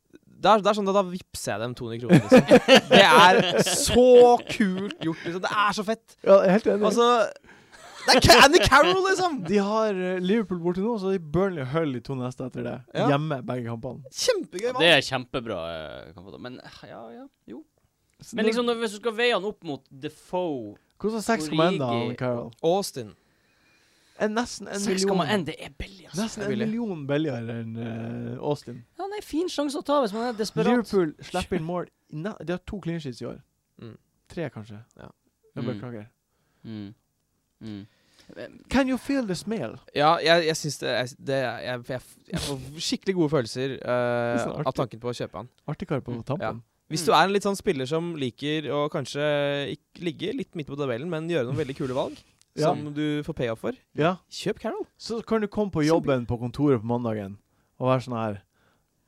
Speaker 5: det er, det er sånn at Da vippser jeg dem 200 kroner. Liksom. Det er så kult gjort. Liksom. Det er så fett.
Speaker 1: ja jeg er helt enig.
Speaker 5: Altså Det er Ca- Andy Carroll, liksom!
Speaker 1: de har eh, Liverpool borte nå, så de Burnley og Hull i to neste etter det.
Speaker 5: Ja.
Speaker 1: Hjemme, begge kampene.
Speaker 5: Kjempegøy.
Speaker 2: Det
Speaker 5: Mann.
Speaker 2: er kjempebra. eh, kan få det. Men eh, ja, ja. Jo. Men liksom, når- hvis du skal veie han opp mot Defoe
Speaker 1: Hvordan er 6,1 da,
Speaker 2: Origi-
Speaker 1: Carol?
Speaker 5: Austin.
Speaker 1: Er nesten en million
Speaker 2: 6,1, det er billig, altså.
Speaker 1: Nesten en
Speaker 5: Billig.
Speaker 1: million billigere enn eh, Austin.
Speaker 2: Ja, nei, fin sjanse å ta hvis man er desperat.
Speaker 1: Liverpool slipper inn mål i ne- De har to clean sheets i år.
Speaker 5: Mm.
Speaker 1: Tre, kanskje.
Speaker 5: Ja.
Speaker 1: Jeg
Speaker 2: Mm.
Speaker 1: beklager.
Speaker 2: Mm. Mm.
Speaker 1: Can you feel the smell?
Speaker 5: Ja, jeg, jeg syns det, jeg, det er- jeg, jeg, jeg får skikkelig gode følelser eh,
Speaker 1: Det er så artig.
Speaker 5: av tanken på å kjøpe han.
Speaker 1: Artigere på
Speaker 2: Mm.
Speaker 1: tampen.
Speaker 5: Hvis du er en litt sånn spiller som liker å kanskje ikk- ligge litt midt på tabellen, men gjøre noen veldig kule valg,
Speaker 1: Ja.
Speaker 5: som du får payoff for,
Speaker 1: Ja.
Speaker 5: kjøp Carol.
Speaker 1: Så kan du komme på jobben på kontoret på mandagen og være sånn her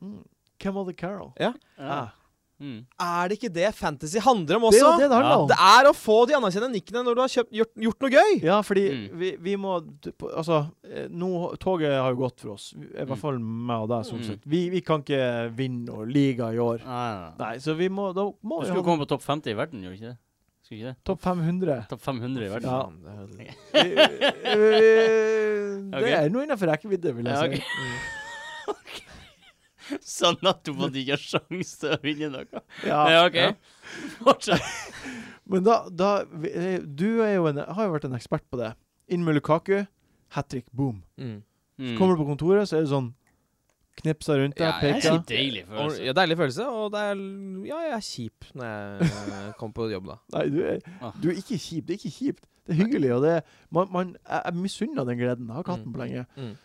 Speaker 1: mm, Hvem var det Carol?
Speaker 2: Ja.
Speaker 1: Ah.
Speaker 2: Mm.
Speaker 5: Er det ikke det fantasy handler om
Speaker 1: Det er
Speaker 5: også?
Speaker 1: jo det det handler om.
Speaker 5: Det er å få de anerkjente nikkene når du har kjøpt, gjort, gjort noe gøy!
Speaker 1: Ja, fordi
Speaker 2: Mm.
Speaker 1: vi, vi må d- på- Altså, eh, nå Toget har jo gått for oss. I hvert fall meg og deg, stort
Speaker 2: Mm.
Speaker 1: sett. Vi, vi kan ikke vinne noe liga i år.
Speaker 2: Nei, nei, nei.
Speaker 1: Nei, så vi må Da må
Speaker 2: Du
Speaker 1: vi
Speaker 2: skulle
Speaker 1: ha
Speaker 2: komme på topp 50 i verden, gjorde du ikke det? Skulle ikke det?
Speaker 1: topp 500.
Speaker 2: Topp 500 i verden.
Speaker 1: Ja.
Speaker 5: Faen, det er-
Speaker 1: Eh, eh,
Speaker 2: Ok.
Speaker 1: Det er noe innenfor rekkevidde, vil
Speaker 2: Ja,
Speaker 1: jeg si.
Speaker 2: ok. Sånn at du måtte ikke ha sjanse til å vinne noe.
Speaker 1: Ja,
Speaker 2: Ja, OK.
Speaker 1: ja.
Speaker 2: Fortsett.
Speaker 1: Men da, da vi- eh, Du er jo en, har jo vært en ekspert på det. Inn med Lukaku, hat trick, boom.
Speaker 5: Mm.
Speaker 2: Mm.
Speaker 1: Kommer du på kontoret, så er det sånn Knipser rundt deg,
Speaker 5: Ja, jeg
Speaker 2: Det er
Speaker 1: peker.
Speaker 2: en deilig
Speaker 5: Og,
Speaker 2: følelse.
Speaker 5: ja, deilig følelse, og det er Ja, jeg er kjip når jeg eh, kommer på jobb, da.
Speaker 1: Nei, du er,
Speaker 2: Ah.
Speaker 1: du er ikke kjip. Det er ikke kjipt. Det er hyggelig, og det er man, man, Jeg, jeg misunner den gleden. Jeg har ikke hatt den på lenge.
Speaker 5: Mm.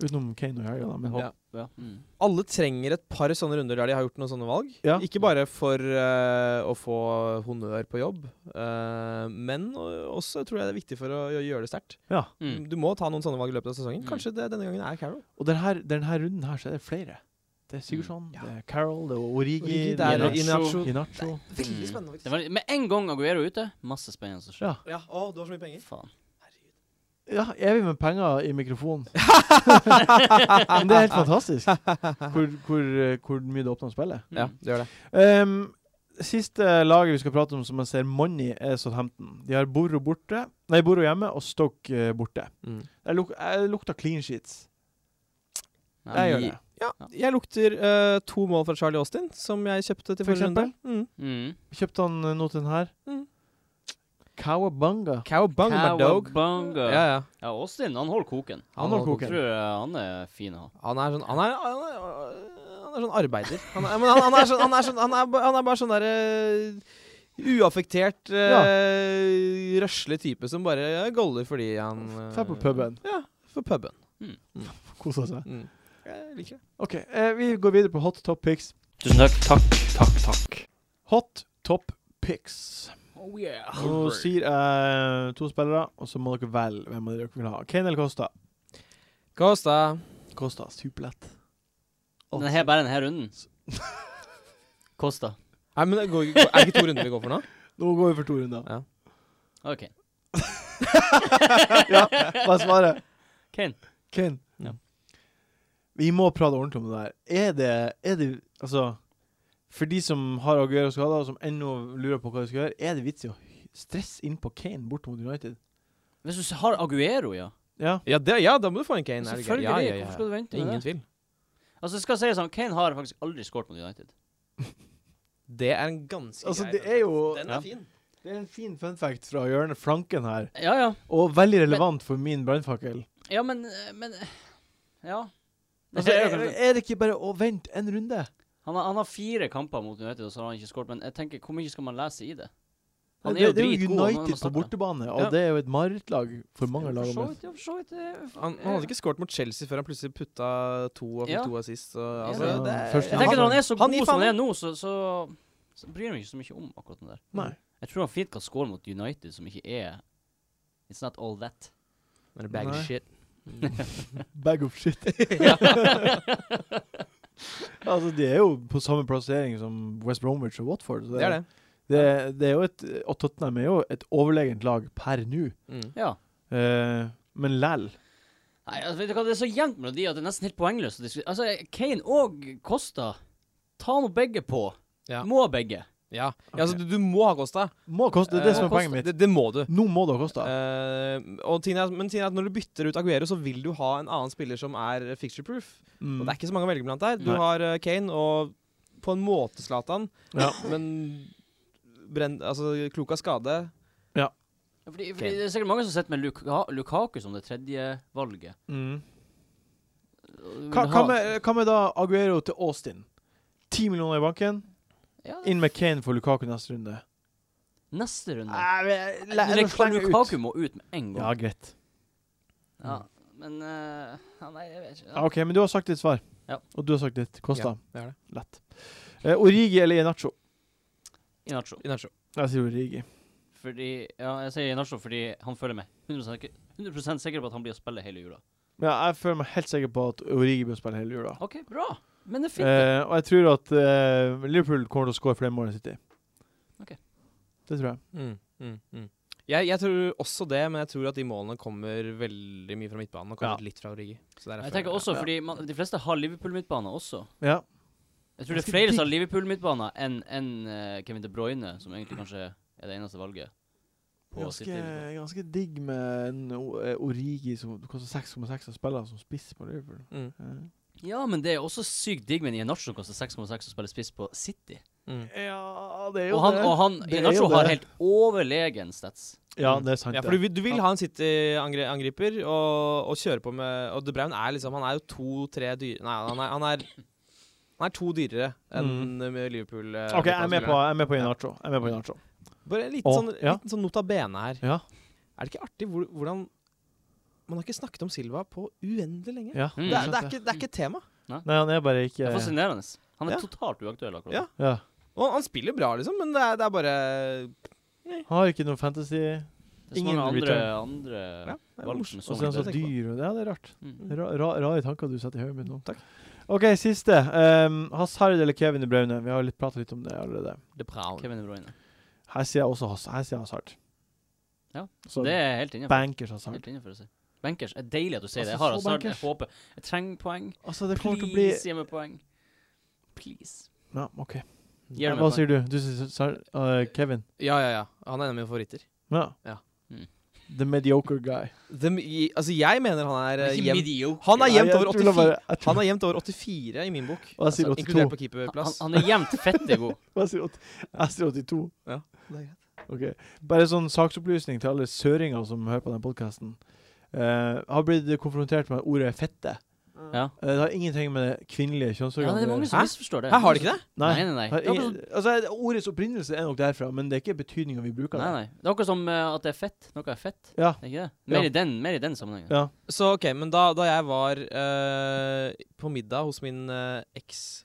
Speaker 1: Utenom Kane og Jørgen, da. Men
Speaker 5: Ja.
Speaker 2: Ja. Mm.
Speaker 5: Alle trenger et par sånne runder der de har gjort noen sånne valg.
Speaker 1: Ja.
Speaker 5: Ikke bare for eh, å få honnør på jobb, eh, men o- også tror jeg det er viktig for å gjø- gjøre det sterkt.
Speaker 1: ja.
Speaker 2: Mm.
Speaker 5: Du må ta noen sånne valg i løpet av sesongen.
Speaker 2: Mm.
Speaker 5: Kanskje det denne gangen er Carol.
Speaker 1: Og denne, denne runden her, så er det flere. Det er Sigurdsson,
Speaker 5: Mm. Ja.
Speaker 1: det er Carol, det er Origi,
Speaker 5: Origi,
Speaker 1: det er
Speaker 2: det er
Speaker 1: Inacho.
Speaker 5: Inacho.
Speaker 1: Inacho.
Speaker 2: Mm.
Speaker 5: Veldig spennende,
Speaker 2: Det
Speaker 5: faktisk.
Speaker 2: var, med en gang Aguero er ute, masse spennende som skjer.
Speaker 1: Ja.
Speaker 5: Ja, å, du har så mye penger.
Speaker 2: Faen.
Speaker 1: Ja, evig med penger i mikrofonen. Men det
Speaker 2: Mm.
Speaker 5: Mm.
Speaker 1: er helt fantastisk hvor, hvor, eh, hvor mye det åpner å spille.
Speaker 5: Ja, det gjør det.
Speaker 1: Ehm, siste laget vi skal prate om som jeg ser money, er Southampton. De har Boro borte Nei, Boro hjemme og Stoke eh, borte.
Speaker 5: Mm.
Speaker 1: Jeg, luk jeg lukter clean sheets.
Speaker 2: Nei,
Speaker 1: Jeg gjør
Speaker 2: vi-
Speaker 1: det.
Speaker 5: Ja, jeg lukter eh, to mål fra Charlie Austin, som jeg kjøpte til
Speaker 1: For
Speaker 5: forrige runde.
Speaker 1: eksempel?
Speaker 5: Mm.
Speaker 2: Mm.
Speaker 1: Kjøpte han eh, noe til den her?
Speaker 5: Mm.
Speaker 1: Cowabunga.
Speaker 5: Cowabung, my dog.
Speaker 2: Cowabunga.
Speaker 5: Ja, ja.
Speaker 2: Ja, Austin, han holder koken.
Speaker 1: Han
Speaker 5: holder
Speaker 1: holder
Speaker 2: Jeg
Speaker 1: koken.
Speaker 2: tror eh, han er fin å ha.
Speaker 5: Han er sånn Han er, han er, han er sånn arbeider. Han er, men han, han, er sånn, han, er sånn, han, er, ba- han er bare sånn derre eh, Uaffektert, eh, røslig type som bare goller fordi han eh,
Speaker 1: Drar på puben.
Speaker 5: Ja, for puben.
Speaker 1: Kosa seg.
Speaker 5: Mm. Jeg liker det.
Speaker 1: OK, eh, vi går videre på hot top pics.
Speaker 2: Tusen takk. Takk, takk, takk.
Speaker 1: Hot top pics.
Speaker 2: Oh yeah.
Speaker 1: Nå sier jeg to spillere, og så må dere velge hvem av dere vil ha. Kane eller Costa?
Speaker 5: Kosta.
Speaker 1: Costa, superlett.
Speaker 2: Den er bare denne runden. Kosta.
Speaker 5: Nei, men det går, ikke- Er det ikke to runder vi går for nå?
Speaker 1: Nå går vi for to runder.
Speaker 2: OK.
Speaker 1: ja, hva er svaret?
Speaker 2: Kane.
Speaker 1: Kane.
Speaker 2: Ja.
Speaker 1: Vi må prate ordentlig om det der. Er det, er det Altså, for de som har Aguero skader, og som ennå lurer på hva de skal gjøre, er det vits i å hy- stresse inn på Kane bort mot United?
Speaker 2: Hvis du s- har Aguero, ja.
Speaker 1: Ja.
Speaker 5: Ja, det, ja da må du få en Kane. er det greit?
Speaker 2: Selvfølgelig.
Speaker 5: Ja, ja, ja.
Speaker 2: Hvorfor skal du vente med
Speaker 5: Ingen
Speaker 2: det?
Speaker 5: tvil.
Speaker 2: Altså, jeg skal si det sånn, Kane har faktisk aldri skåret mot United.
Speaker 5: Det er en ganske
Speaker 1: Altså,
Speaker 5: grei
Speaker 1: det er jo
Speaker 5: Den
Speaker 2: Ja.
Speaker 5: er fin.
Speaker 1: Det er en fin fun fact fra hjørnet flanken her,
Speaker 2: Ja, ja.
Speaker 1: og veldig relevant for min brannfakkel.
Speaker 2: Ja, men eh, Men eh, Ja.
Speaker 1: Altså, er, er det ikke bare å vente en runde?
Speaker 2: Han har, han har fire kamper mot United, og så har han ikke skåret. Men jeg tenker, hvor mye skal man lese i det? Han er
Speaker 1: det,
Speaker 2: jo
Speaker 1: det er jo
Speaker 2: dritgod, han må
Speaker 1: United på
Speaker 2: starte.
Speaker 1: bortebane, og
Speaker 2: Ja.
Speaker 1: det er jo et marerittlag for mange lag. å
Speaker 2: For så
Speaker 1: møte.
Speaker 2: vidt, ja, for så vidt. eh,
Speaker 5: Han, han hadde ikke skåret mot Chelsea før han plutselig putta to og fikk
Speaker 2: Ja.
Speaker 5: to assist. Så,
Speaker 2: Ja,
Speaker 5: altså,
Speaker 1: det-
Speaker 5: det,
Speaker 1: Første Ja,
Speaker 2: Jeg tenker Når
Speaker 1: han-
Speaker 2: han er så
Speaker 5: han gir
Speaker 2: god som han
Speaker 5: faen.
Speaker 2: er nå, så, så, så bryr jeg meg ikke så mye om akkurat den der.
Speaker 1: Nei.
Speaker 2: Jeg tror han fint kan score mot United, som ikke er It's not all that.
Speaker 5: er det bag of
Speaker 1: Nei.
Speaker 5: shit.
Speaker 1: Bag of shit. altså, de er jo på samme plassering som West Bromwich og Watford. så
Speaker 5: Det er det.
Speaker 1: Det, det er jo et, og Tottenham er jo et overlegent lag per nå.
Speaker 5: Mm.
Speaker 2: Ja.
Speaker 1: Eh, men læl.
Speaker 2: Nei, altså, vet du hva, Det er så jevnt mellom de at det er nesten helt poengløst å diskutere. Altså, Kane og Costa, ta nå begge på.
Speaker 5: Ja.
Speaker 2: Må begge.
Speaker 5: Ja. ja, altså, du, du må ha Kosta.
Speaker 1: Må koste, det er det
Speaker 5: Eh,
Speaker 1: som er
Speaker 5: må
Speaker 1: poenget mitt.
Speaker 5: Det, det må du.
Speaker 1: Nå må det ha kosta.
Speaker 5: Eh, og tingen er, at- men tingen er at når du bytter ut Aguero, så vil du ha en annen spiller som er fixture proof.
Speaker 1: Mm.
Speaker 5: Eh, Og det er ikke så mange å velge blant der. Du
Speaker 1: Nei.
Speaker 5: har eh, Kane og på en måte Zlatan,
Speaker 1: Ja.
Speaker 5: men brenn, altså, klok av skade.
Speaker 2: Fordi, fordi
Speaker 5: Kane.
Speaker 2: Det er sikkert mange som sitter med Luka Lukaku som det tredje valget.
Speaker 1: Mm.
Speaker 2: Og
Speaker 1: Hva,
Speaker 2: vil
Speaker 1: hva,
Speaker 2: ha-
Speaker 1: med, hva med da Aguero til Austin? Ti millioner i banken,
Speaker 2: ja, det-
Speaker 1: inn med Kane for Lukaku neste runde.
Speaker 2: Neste runde.
Speaker 1: Nei, men la-
Speaker 2: Eller
Speaker 1: nå slenger jeg
Speaker 2: Lukaku
Speaker 1: ut.
Speaker 2: må ut med en gang.
Speaker 1: Ja, greit.
Speaker 2: Ja, men eh, ja, Nei, jeg vet ikke.
Speaker 1: Ja, OK, men du har sagt ditt svar.
Speaker 2: Ja.
Speaker 1: Og du har sagt ditt. Kosta.
Speaker 5: Det er det.
Speaker 1: Lett. Eh, Origi eller Inacho?
Speaker 2: Inacho.
Speaker 5: Inacho.
Speaker 1: Jeg sier Origi.
Speaker 2: Fordi, ja, jeg sier Inacho fordi han følger med. 100%, ikke- 100 sikker på at han blir å spille hele jula.
Speaker 1: Men jeg føler meg helt sikker på at Origi bør spille hele jula.
Speaker 2: OK, bra. Men det er fint.
Speaker 1: Eh, og jeg tror at eh, Liverpool kommer til å skåre flere mål enn City.
Speaker 2: Ok.
Speaker 1: Det tror jeg.
Speaker 5: Mm, mm, mm. Jeg, jeg tror også det, men jeg tror at de målene kommer veldig mye fra midtbanen og kommer
Speaker 1: Ja.
Speaker 5: litt fra Origi. Så
Speaker 2: Jeg tenker også, fordi man, De fleste har Liverpool-midtbaner også.
Speaker 1: Ja.
Speaker 2: Jeg tror det
Speaker 1: Ganske
Speaker 2: er flere som har
Speaker 1: digg.
Speaker 2: Liverpool-midtbaner enn enn, eh, Kevin De Bruyne, som egentlig kanskje er det eneste valget. På liksom. sitt
Speaker 1: Ganske,
Speaker 2: Liverpool.
Speaker 1: ganske digg med en O- eh, Origi som koster 6,6 og spiller som spiss på Liverpool.
Speaker 5: Mm.
Speaker 1: Eh.
Speaker 2: Ja, men det er også sykt digg med en Inacho som koster 6,6 og spiller spiss på City.
Speaker 5: Mm.
Speaker 1: Eh, Ja, det er
Speaker 2: Og han, og han
Speaker 1: Det er jo
Speaker 2: Inacho har
Speaker 1: det.
Speaker 2: helt overlegen stats.
Speaker 1: Ja, det er sant.
Speaker 5: Ja, for du, vil- du vil ha en City-angriper og, og kjøre på med Og De Bruyne er liksom Han er jo to-tre dyre Nei, han er, han er han er to dyrere enn med Liverpool. eh,
Speaker 1: Mm. OK, jeg er med på,
Speaker 5: fotballspillere.
Speaker 1: jeg er med på Inacho. Jeg er med på Inacho.
Speaker 2: Mm.
Speaker 5: Bare en liten,
Speaker 1: Å,
Speaker 5: sånn,
Speaker 1: ja.
Speaker 5: liten sånn nota bene her.
Speaker 1: Ja.
Speaker 5: Er det ikke artig hvor, hvordan Man har ikke snakket om Silva på uendelig lenge.
Speaker 1: ja.
Speaker 2: Mm.
Speaker 5: Det, er, det, er
Speaker 1: skjønte
Speaker 5: ikke, det er ikke et tema.
Speaker 1: Nei, han er bare ikke
Speaker 2: Det er fascinerende. Han er
Speaker 5: Ja.
Speaker 2: totalt uaktuell akkurat.
Speaker 5: Ja.
Speaker 1: ja.
Speaker 5: Og han spiller bra, liksom, men det er, det er bare
Speaker 1: Han har ikke noe fantasy,
Speaker 2: Det er så
Speaker 1: Ingen
Speaker 2: mange andre,
Speaker 1: return.
Speaker 2: andre
Speaker 5: Ja, det er
Speaker 2: valg
Speaker 5: morsomt.
Speaker 2: som er
Speaker 1: og
Speaker 2: så
Speaker 1: så er han så
Speaker 2: lite.
Speaker 5: tenker jeg
Speaker 1: dyr. og- Ja, det er rart.
Speaker 2: Mm.
Speaker 1: Ra ra rare tanker du setter i hodet mitt nå.
Speaker 5: Takk.
Speaker 1: OK, siste. Um, Hazard eller Kevin De Bruyne? Vi har litt pratet litt om det allerede.
Speaker 5: De Bruyne.
Speaker 2: Kevin De Bruyne.
Speaker 1: Her sier jeg også Haz her sier jeg Hazard.
Speaker 2: Ja,
Speaker 1: Så
Speaker 2: Det er helt innenfor.
Speaker 1: bankers Hazard.
Speaker 2: Helt innenfor å si. Bankers. Det er deilig at du sier det. Jeg
Speaker 1: Altså,
Speaker 2: har
Speaker 1: så
Speaker 2: Hazard. Jeg
Speaker 1: bankers.
Speaker 2: håper Jeg trenger poeng.
Speaker 1: Altså, det kommer til å bli
Speaker 2: Please, gi meg poeng. Please.
Speaker 1: Ja, OK.
Speaker 2: Gir du
Speaker 1: Hva
Speaker 2: meg poeng?
Speaker 1: sier du? Du sier Sar- eh, Kevin?
Speaker 5: Ja, ja, ja. Han er en av mine favoritter.
Speaker 1: Ja.
Speaker 5: Ja.
Speaker 2: Mm.
Speaker 1: The mediocre guy.
Speaker 5: Dem- i- altså, jeg mener han er eh,
Speaker 2: Ikke
Speaker 5: jevnt
Speaker 2: mediocre.
Speaker 5: Han er
Speaker 1: Nei,
Speaker 5: jevnt
Speaker 1: jeg
Speaker 5: over
Speaker 1: tror det
Speaker 5: 84.
Speaker 1: var- jeg tror-
Speaker 5: Han er jevnt over 84 i min bok.
Speaker 1: Og jeg sier 82.
Speaker 2: Altså,
Speaker 5: inkludert på
Speaker 2: Han,
Speaker 5: keeperplass.
Speaker 2: han er jevnt fette god.
Speaker 1: Jeg sier åt- jeg sier 82.
Speaker 5: Ja,
Speaker 1: Ok. Bare sånn saksopplysning til alle søringer som hører på den podkasten. har blitt konfrontert med ordet 'fette'.
Speaker 2: Ja.
Speaker 1: Eh, det har ingenting med det kvinnelige
Speaker 2: Ah. ja,
Speaker 1: kjønnsorganet
Speaker 2: det er mange som
Speaker 5: Hæ?
Speaker 2: misforstår det.
Speaker 5: Her har de ikke det?
Speaker 1: Nei.
Speaker 2: Nei, nei, nei.
Speaker 1: Har
Speaker 2: Det er akkurat
Speaker 1: ingen, altså, det- ordets opprinnelse er nok derfra, men det er ikke betydninga vi bruker.
Speaker 2: som-
Speaker 1: det.
Speaker 2: Nei, nei. Det er akkurat som eh, at det er fett. Noe er fett.
Speaker 1: Ja.
Speaker 2: Er ikke det? Mer,
Speaker 1: Ja.
Speaker 2: i den, mer i den sammenhengen.
Speaker 1: Ja.
Speaker 5: Så ok, men da, da jeg var eh, på middag hos min eh, eks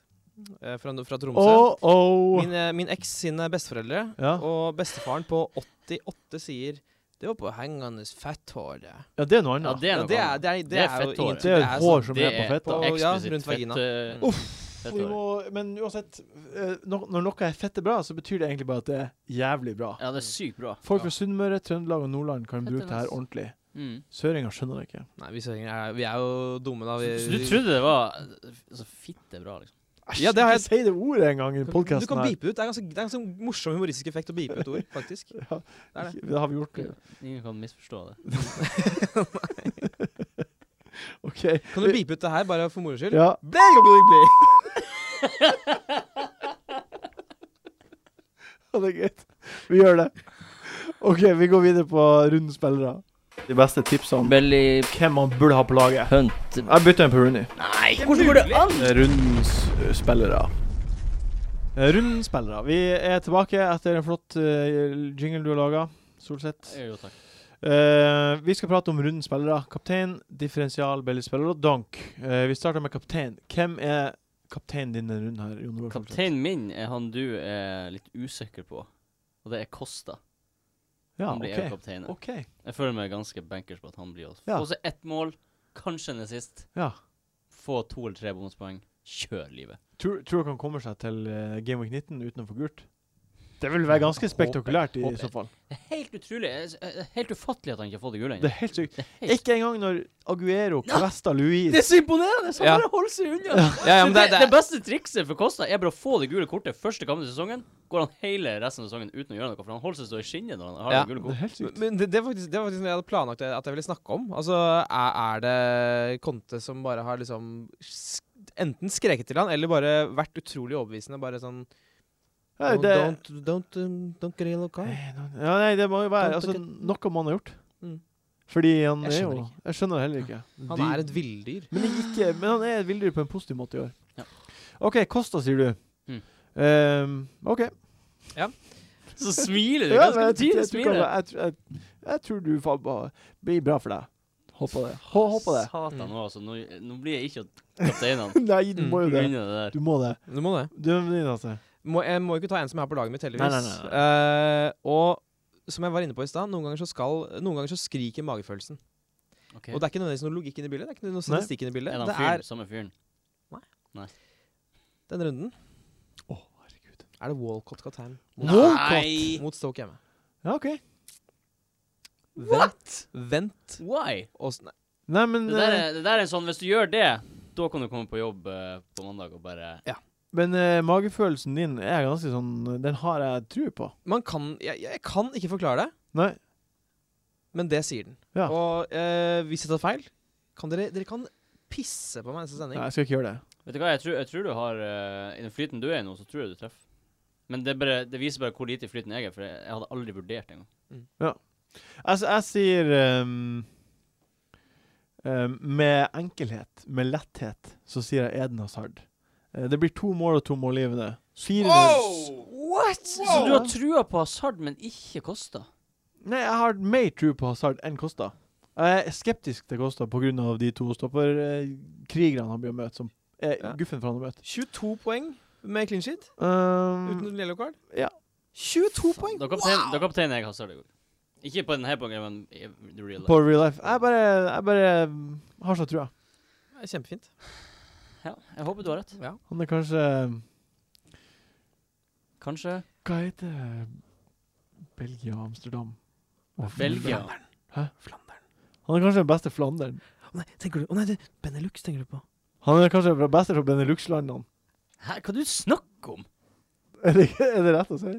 Speaker 5: eh, fra, fra Tromsø
Speaker 1: Oh, oh.
Speaker 5: Min, eh, min eks sine besteforeldre
Speaker 1: Ja.
Speaker 5: og bestefaren på 88 sier det var på hengende fetthår. det."
Speaker 1: ja, det er noe
Speaker 2: Ja,
Speaker 1: annet.
Speaker 2: det er
Speaker 5: Ja,
Speaker 2: noe
Speaker 5: det er,
Speaker 2: annet.
Speaker 5: det er, det
Speaker 2: Det er
Speaker 5: er jo
Speaker 2: fetthår.
Speaker 5: ingenting.
Speaker 1: det er
Speaker 5: Det er
Speaker 1: et
Speaker 5: sånn-
Speaker 1: hår som er på fetta.
Speaker 5: på- ja,
Speaker 2: eksplisitt
Speaker 5: rundt vagina.
Speaker 2: fett, eh,
Speaker 5: Uff,
Speaker 2: fett
Speaker 1: Vi
Speaker 2: hår.
Speaker 1: må, men uansett, eh, når når noe er fette bra, så betyr det egentlig bare at det er jævlig bra.
Speaker 2: Ja, det er sykt bra.
Speaker 1: Folk fra Sunnmøre, Trøndelag og Nordland kan
Speaker 2: Fette
Speaker 1: bruke det her
Speaker 2: nice.
Speaker 1: ordentlig.
Speaker 2: Mm.
Speaker 1: Søringer skjønner det ikke.
Speaker 5: Nei, vi, søringer er, vi er jo dumme, da.
Speaker 2: Så,
Speaker 5: Vi,
Speaker 2: så du trodde det var eh, altså, fitte bra, liksom?
Speaker 5: Ja, det har
Speaker 1: Ikke Si det ordet engang i
Speaker 5: Du- Du
Speaker 1: podkasten
Speaker 5: kan
Speaker 1: her.
Speaker 5: bipe ut. Det er ganske, det er ganske morsom humoristisk effekt å bipe ut ord, faktisk.
Speaker 1: Ja,
Speaker 5: Det er det.
Speaker 1: Ikke- det har vi gjort. det.
Speaker 2: Ingen kan misforstå det.
Speaker 1: OK.
Speaker 5: Kan du bipe ut det her, bare for moro skyld?
Speaker 1: Ja.
Speaker 5: Ble, ble, ble.
Speaker 1: Ja, det er greit. Vi gjør det. OK, vi går videre på rundens spillere. De beste tipsene om
Speaker 2: Belly
Speaker 1: hvem man burde ha på laget.
Speaker 2: punt
Speaker 1: Jeg bytter en på Rooney.
Speaker 2: Nei, hvordan går det an?!
Speaker 1: Rundens eh, spillere. Eh, Rundens spillere. Vi er tilbake etter en flott eh, jingle du har laga, Solseth.
Speaker 2: Jo, takk.
Speaker 1: Eh, vi skal prate om rundens spillere. Kaptein, differensial, bellyspiller og donk. Eh, vi starter med kaptein. Hvem er kapteinen din denne runden her? Jon Roar Solseth?
Speaker 2: Kapteinen min er han du er litt usikker på, og det er Costa.
Speaker 1: Ja,
Speaker 2: Han blir
Speaker 1: OK.
Speaker 2: kapteinen.
Speaker 1: OK.
Speaker 2: Jeg føler meg ganske bankers på at han blir å
Speaker 1: Ja.
Speaker 2: Få seg ett mål, kanskje en assist,
Speaker 1: Ja.
Speaker 2: få to eller tre bonuspoeng. Kjør livet.
Speaker 1: Tror, tror dere han kommer seg til eh, Game Week 19 uten å få gult? Det vil være ganske spektakulært i
Speaker 2: håper jeg.
Speaker 1: så fall.
Speaker 2: Det er helt utrolig. Jeg s- eh, Helt ufattelig at han ikke har fått det gule
Speaker 1: Det
Speaker 2: ennå.
Speaker 1: er helt sykt.
Speaker 2: Det er helt-
Speaker 1: Ikke engang når Aguero kvesta Louis
Speaker 2: Det er så imponerende! Så
Speaker 5: Ja.
Speaker 2: bare holder seg unna.
Speaker 5: Ja, ja, men det,
Speaker 2: det,
Speaker 5: det,
Speaker 2: det beste trikset for Kosta er bare å få det gule kortet første kamp i sesongen. Går han hele resten av sesongen uten å gjøre noe, for han holder seg så i skinnet når han har
Speaker 5: Ja.
Speaker 2: det gule
Speaker 1: Det er
Speaker 2: kortet.
Speaker 1: helt sykt.
Speaker 5: men det, det, er faktisk, det var faktisk noe jeg hadde planlagt at jeg ville snakke om. Altså, er, er det Conte som bare har liksom sk- Enten skreket til han, eller bare vært utrolig overbevisende. Bare sånn
Speaker 1: Nei,
Speaker 5: "Oh,
Speaker 1: det,
Speaker 5: Don't, don't, um, don't get ill, okay?
Speaker 1: Nei, no- ja, nei, det må jo være
Speaker 5: Don't
Speaker 1: altså,
Speaker 5: forget-
Speaker 1: noe man har gjort.
Speaker 5: Mm.
Speaker 1: Fordi han
Speaker 5: Jeg
Speaker 1: er jo
Speaker 5: skjønner ikke.
Speaker 1: Jeg skjønner det heller ikke.
Speaker 5: Han
Speaker 1: Dyr.
Speaker 5: er et villdyr.
Speaker 1: men, ikke men han er et villdyr på en positiv måte i år.
Speaker 2: Ja.
Speaker 1: OK, Kosta, sier du.
Speaker 2: Mm.
Speaker 1: Ehm, OK.
Speaker 2: Så smiler du.
Speaker 1: Ja, men
Speaker 2: Ganske
Speaker 1: jeg, jeg,
Speaker 2: tidlig
Speaker 1: jeg, tror
Speaker 2: smiler.
Speaker 1: kan- jeg, tror- jeg, jeg tror du faen bare- blir bra for deg. Håper det. Hå- Håper det.
Speaker 2: Satan nå, altså. Nå, nå blir jeg ikke kapteinene.
Speaker 1: Nei, du
Speaker 5: Mm.
Speaker 1: må jo
Speaker 2: Grunnet
Speaker 1: det.
Speaker 2: det der.
Speaker 1: Du må det.
Speaker 5: Du må det.
Speaker 1: Du er venninne, altså.
Speaker 5: Må, jeg må ikke ta en som er på laget mitt, heldigvis.
Speaker 1: Nei, nei, nei,
Speaker 5: Eh, og som jeg var inne på i stad, noen ganger så skal Noen ganger så skriker magefølelsen.
Speaker 2: Ok.
Speaker 5: Og det er ikke nødvendigvis noe logikk inn i bildet. Det er ikke noe statistikk inn i
Speaker 2: Er
Speaker 5: bildet.
Speaker 2: det han
Speaker 5: Det
Speaker 2: fyren?
Speaker 5: er
Speaker 2: Samme fyren?
Speaker 5: den runden.
Speaker 1: Å, herregud.
Speaker 5: Er det Walcott kaptein
Speaker 2: Nei!
Speaker 5: mot Stoke hjemme?
Speaker 1: Ja, OK.
Speaker 5: What?! Vent
Speaker 2: Why?
Speaker 5: og s- nei.
Speaker 1: Nei, men,
Speaker 2: Det der,
Speaker 1: eh,
Speaker 2: er, det der er en sånn Hvis du gjør det, da kan du komme på jobb eh, på mandag og bare
Speaker 1: men eh, magefølelsen din er ganske sånn Den har jeg tru på.
Speaker 5: Man kan jeg, jeg kan ikke forklare det,
Speaker 1: Nei.
Speaker 5: men det sier den.
Speaker 1: Ja.
Speaker 5: Og eh, hvis jeg tar feil, kan dere, dere kan pisse på meg neste
Speaker 1: Nei,
Speaker 5: sending.
Speaker 1: jeg skal ikke gjøre det.
Speaker 2: Vet du hva, jeg tror, jeg tror du har eh, I den flyten du er i nå, så tror jeg du treffer. Men det, er bare, det viser bare hvor lite i flyten jeg er, for jeg, jeg hadde aldri vurdert engang.
Speaker 1: Altså, Jeg, s- jeg sier ehm, ehm, Med enkelhet, med letthet, så sier jeg Eden Hazard. Eh, det blir to mål og to målgivende. Fire
Speaker 6: Oh!
Speaker 2: What?! Så du har trua på Hazard, men ikke Kosta?
Speaker 1: Nei, jeg har mer tro på Hazard enn Kosta. Jeg er skeptisk til Kosta pga. de to stopperkrigerne han blir å møte, som er
Speaker 5: Ja.
Speaker 1: guffen for han å møte.
Speaker 5: 22 poeng med clean sheet
Speaker 1: Ehm,
Speaker 5: uten yellow card.
Speaker 1: ja.
Speaker 5: 22 Mm. poeng!
Speaker 2: Da kaptein- da kapteinen jeg Hazard i går. Ikke på denne poenget, men i the real life.
Speaker 1: på real life. Jeg bare, jeg bare mm, har så trua.
Speaker 5: Det er Kjempefint.
Speaker 2: Ja, jeg håper du har rett.
Speaker 5: Ja.
Speaker 1: Han er kanskje
Speaker 2: Kanskje
Speaker 1: Hva heter det? Belgia, Amsterdam Å,
Speaker 2: Belgia.
Speaker 1: Hæ?
Speaker 5: Flandern.
Speaker 1: Han er kanskje den beste flanderen.
Speaker 5: Å nei, tenker du Å nei, det er Benelux tenker du på.
Speaker 1: Han er kanskje den beste fra Benelux-landene.
Speaker 2: Hæ, hva du snakker om?
Speaker 1: Er det, er det rett å si?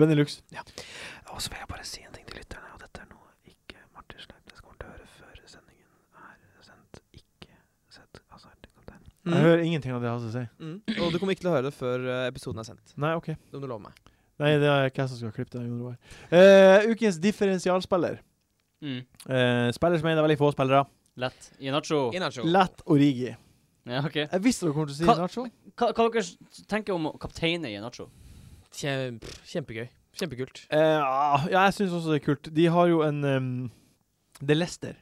Speaker 1: Benelux.
Speaker 5: Og så vil jeg bare si en ting til lytterne, og dette er noe ikke Martin Sleipnes kommer til å høre før sendingen er sendt. Ikke sett Hazard-kaptein.
Speaker 1: Jeg hører ingenting av det jeg har å si.
Speaker 5: Og du kommer ikke til å høre det før eh, episoden er sendt.
Speaker 1: Nei, OK.
Speaker 5: Det må du love meg.
Speaker 1: Nei, det er ikke jeg som skal klippe det. Jon Roar. Eh, ukens differensialspiller.
Speaker 2: Mm.
Speaker 1: Eh, spiller som er en av veldig få spillere.
Speaker 2: Lett. Inacho.
Speaker 5: Inacho.
Speaker 1: Lett Origi.
Speaker 2: Ja, OK.
Speaker 1: Jeg visste dere kom til å si
Speaker 2: Hva-
Speaker 1: Nacho.
Speaker 2: Hva, hva dere s- tenker om kapteinen i Inacho?
Speaker 5: Kjem- pff, Kjempegøy. Kjempekult.
Speaker 1: Eh, ah, ja, jeg syns også det er kult. De har jo en um, Det er Leicester.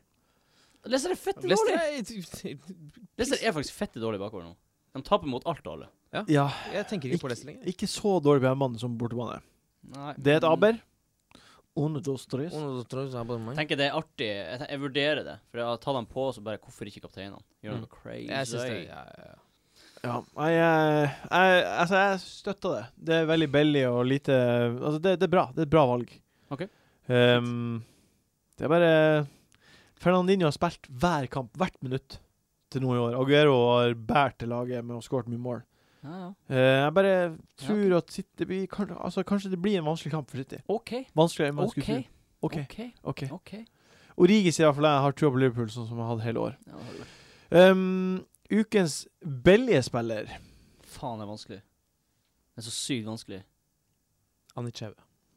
Speaker 2: Leicester er fette
Speaker 5: Leicester
Speaker 2: dårlig.
Speaker 5: er-
Speaker 2: Leicester er faktisk fette dårlig bakover nå. De taper mot alt og alle.
Speaker 1: Ja,
Speaker 5: Jeg tenker ikke på Leicester lenger.
Speaker 1: ikke så dårlig på hjemmebane som bortebane. Mm.
Speaker 2: Nei.
Speaker 1: Det er et aber. Under dos tres. Mm.
Speaker 2: Jeg tenker det er artig. Jeg, ten- jeg vurderer det. For jeg har tatt dem på, så bare Hvorfor ikke kapteinene? Gjør
Speaker 5: Mm.
Speaker 2: noe crazy.
Speaker 5: Jeg synes det ja, ja, ja.
Speaker 1: Ja, jeg, eh, jeg, altså, jeg støtter det. Det er veldig billig og lite Altså, det, det er bra. Det er et bra valg.
Speaker 2: Ok.
Speaker 1: Ehm, det er bare Fernandinho har spilt hver kamp, hvert minutt, til nå i år. Aguero har båret til laget med å skåret mye mål.
Speaker 2: Ja, ja.
Speaker 1: Eh, jeg bare tror at City blir, kan, altså, Kanskje det blir en vanskelig kamp for City.
Speaker 2: OK.
Speaker 1: Vanskeligere enn man
Speaker 2: OK.
Speaker 1: skulle tro. OK.
Speaker 2: OK.
Speaker 1: ok.
Speaker 2: OK.
Speaker 1: Origi sier i hvert fall jeg har trua på Liverpool, sånn som jeg har hatt hele år.
Speaker 2: Ja, det har du.
Speaker 1: Ehm, ukens billige spiller
Speaker 2: Faen, det er vanskelig. Det er så sykt vanskelig.
Speaker 5: Anicheve.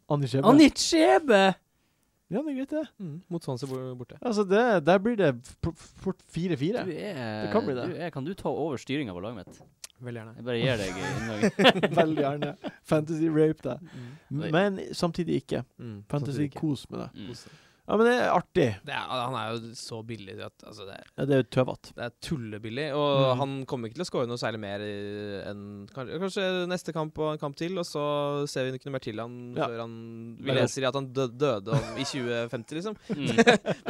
Speaker 1: Anders Skjebne.
Speaker 2: Anichebe!
Speaker 1: Ja, det er greit, det.
Speaker 5: Mm. Mot Swansea bor- borte.
Speaker 1: Altså, det, der blir det f- f- fort 4-4.
Speaker 2: Du er,
Speaker 1: Det kan bli det.
Speaker 2: Du er, kan du ta over styringa på laget mitt?
Speaker 5: Veldig gjerne.
Speaker 2: Jeg bare gir deg innlaget.
Speaker 1: Veldig gjerne. Fantasy rape deg. Men samtidig ikke.
Speaker 5: Mm,
Speaker 1: Fantasy
Speaker 5: samtidig ikke.
Speaker 1: kos med det.
Speaker 2: Mm.
Speaker 1: Ja, men det er artig.
Speaker 5: Det er, han er jo så billig at altså, det, er,
Speaker 1: Ja, det er jo tøvete.
Speaker 5: det er tullebillig. Og
Speaker 1: Mm.
Speaker 5: han kommer ikke til å skåre noe særlig mer i- enn kanskje, kanskje neste kamp og en kamp til, og så ser vi ikke noe mer til han
Speaker 1: Ja.
Speaker 5: før han Vi
Speaker 1: Bare-
Speaker 5: leser i at han dø- døde om, i 2050, liksom.
Speaker 2: Mm.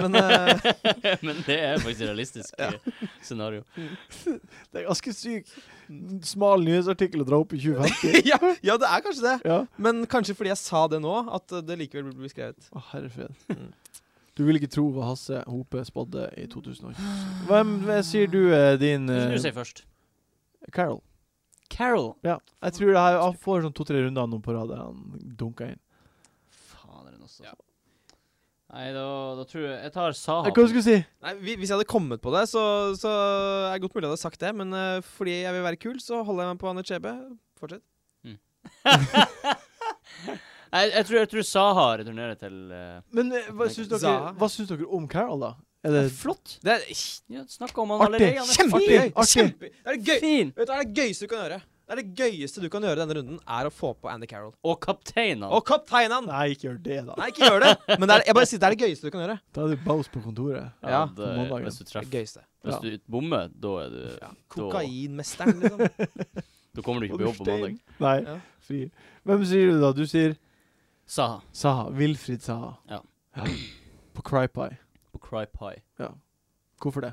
Speaker 5: Men eh,
Speaker 2: Men det er faktisk et realistisk eh, scenario.
Speaker 1: Det er ganske syk smal nyhetsartikkel å dra opp i 2050.
Speaker 5: ja, ja, det er kanskje det.
Speaker 1: ja.
Speaker 5: Men kanskje fordi jeg sa det nå, at det likevel blir beskrevet.
Speaker 1: Å, herre fred.
Speaker 5: Mm.
Speaker 1: Du vil ikke tro hva Hasse Hope spådde i 2020. Hvem hva sier du eh, din
Speaker 2: Hva skal
Speaker 1: eh,
Speaker 2: du si først?
Speaker 1: Carol?
Speaker 2: Carol.
Speaker 1: Ja. Jeg tror det her, han får sånn to-tre runder nå på rad der han dunka inn.
Speaker 2: Fader, også. Nei, da, da tror jeg Jeg tar Saha.
Speaker 1: Eh, Hva skulle du si?
Speaker 5: Nei, hvi- Hvis jeg hadde kommet på det, så, så er det godt mulig jeg hadde sagt det. Men eh, fordi jeg vil være kul, så holder jeg meg på Anne Chebe. Fortsett.
Speaker 2: jeg, jeg, tror, jeg tror Saha returnerer til eh,
Speaker 1: Men eh, hva syns dere,
Speaker 5: Zaha.
Speaker 1: hva syns dere om Carol, da? Er
Speaker 2: det
Speaker 1: det
Speaker 2: er Flott!
Speaker 5: Det er kj-
Speaker 2: Ja, Snakka om han
Speaker 1: Artig.
Speaker 2: allerede. Han er
Speaker 1: Kjempegøy.
Speaker 2: fin.
Speaker 1: Artig.
Speaker 5: Kjempe, det er det gøy!
Speaker 2: Fin!
Speaker 5: Vet du, hva er det gøyeste du kan gjøre. Det er det gøyeste du kan gjøre denne runden, er å få på Andy Carroll.
Speaker 2: Og kapteinene.
Speaker 5: Og kapteinen! han!
Speaker 1: Nei, ikke gjør det, da.
Speaker 5: Nei, ikke gjør det! Men det er, jeg bare sier det er det gøyeste du kan gjøre.
Speaker 1: Da er det Baus på kontoret.
Speaker 5: Ja,
Speaker 2: det,
Speaker 1: på mandagen.
Speaker 2: hvis du
Speaker 5: Det
Speaker 2: treffer
Speaker 5: gøyeste.
Speaker 1: Ja.
Speaker 2: Hvis du bommer, da er du
Speaker 5: Kokainmesteren, liksom.
Speaker 2: Da kommer du ikke på jobb på mandag.
Speaker 1: Nei,
Speaker 5: Ja.
Speaker 1: fri. Hvem sier du, da? Du sier
Speaker 2: Saha
Speaker 1: Saha. Wilfrid Saha.
Speaker 2: Ja.
Speaker 1: På Crypie.
Speaker 2: på Cry Pie.
Speaker 1: Hvorfor det?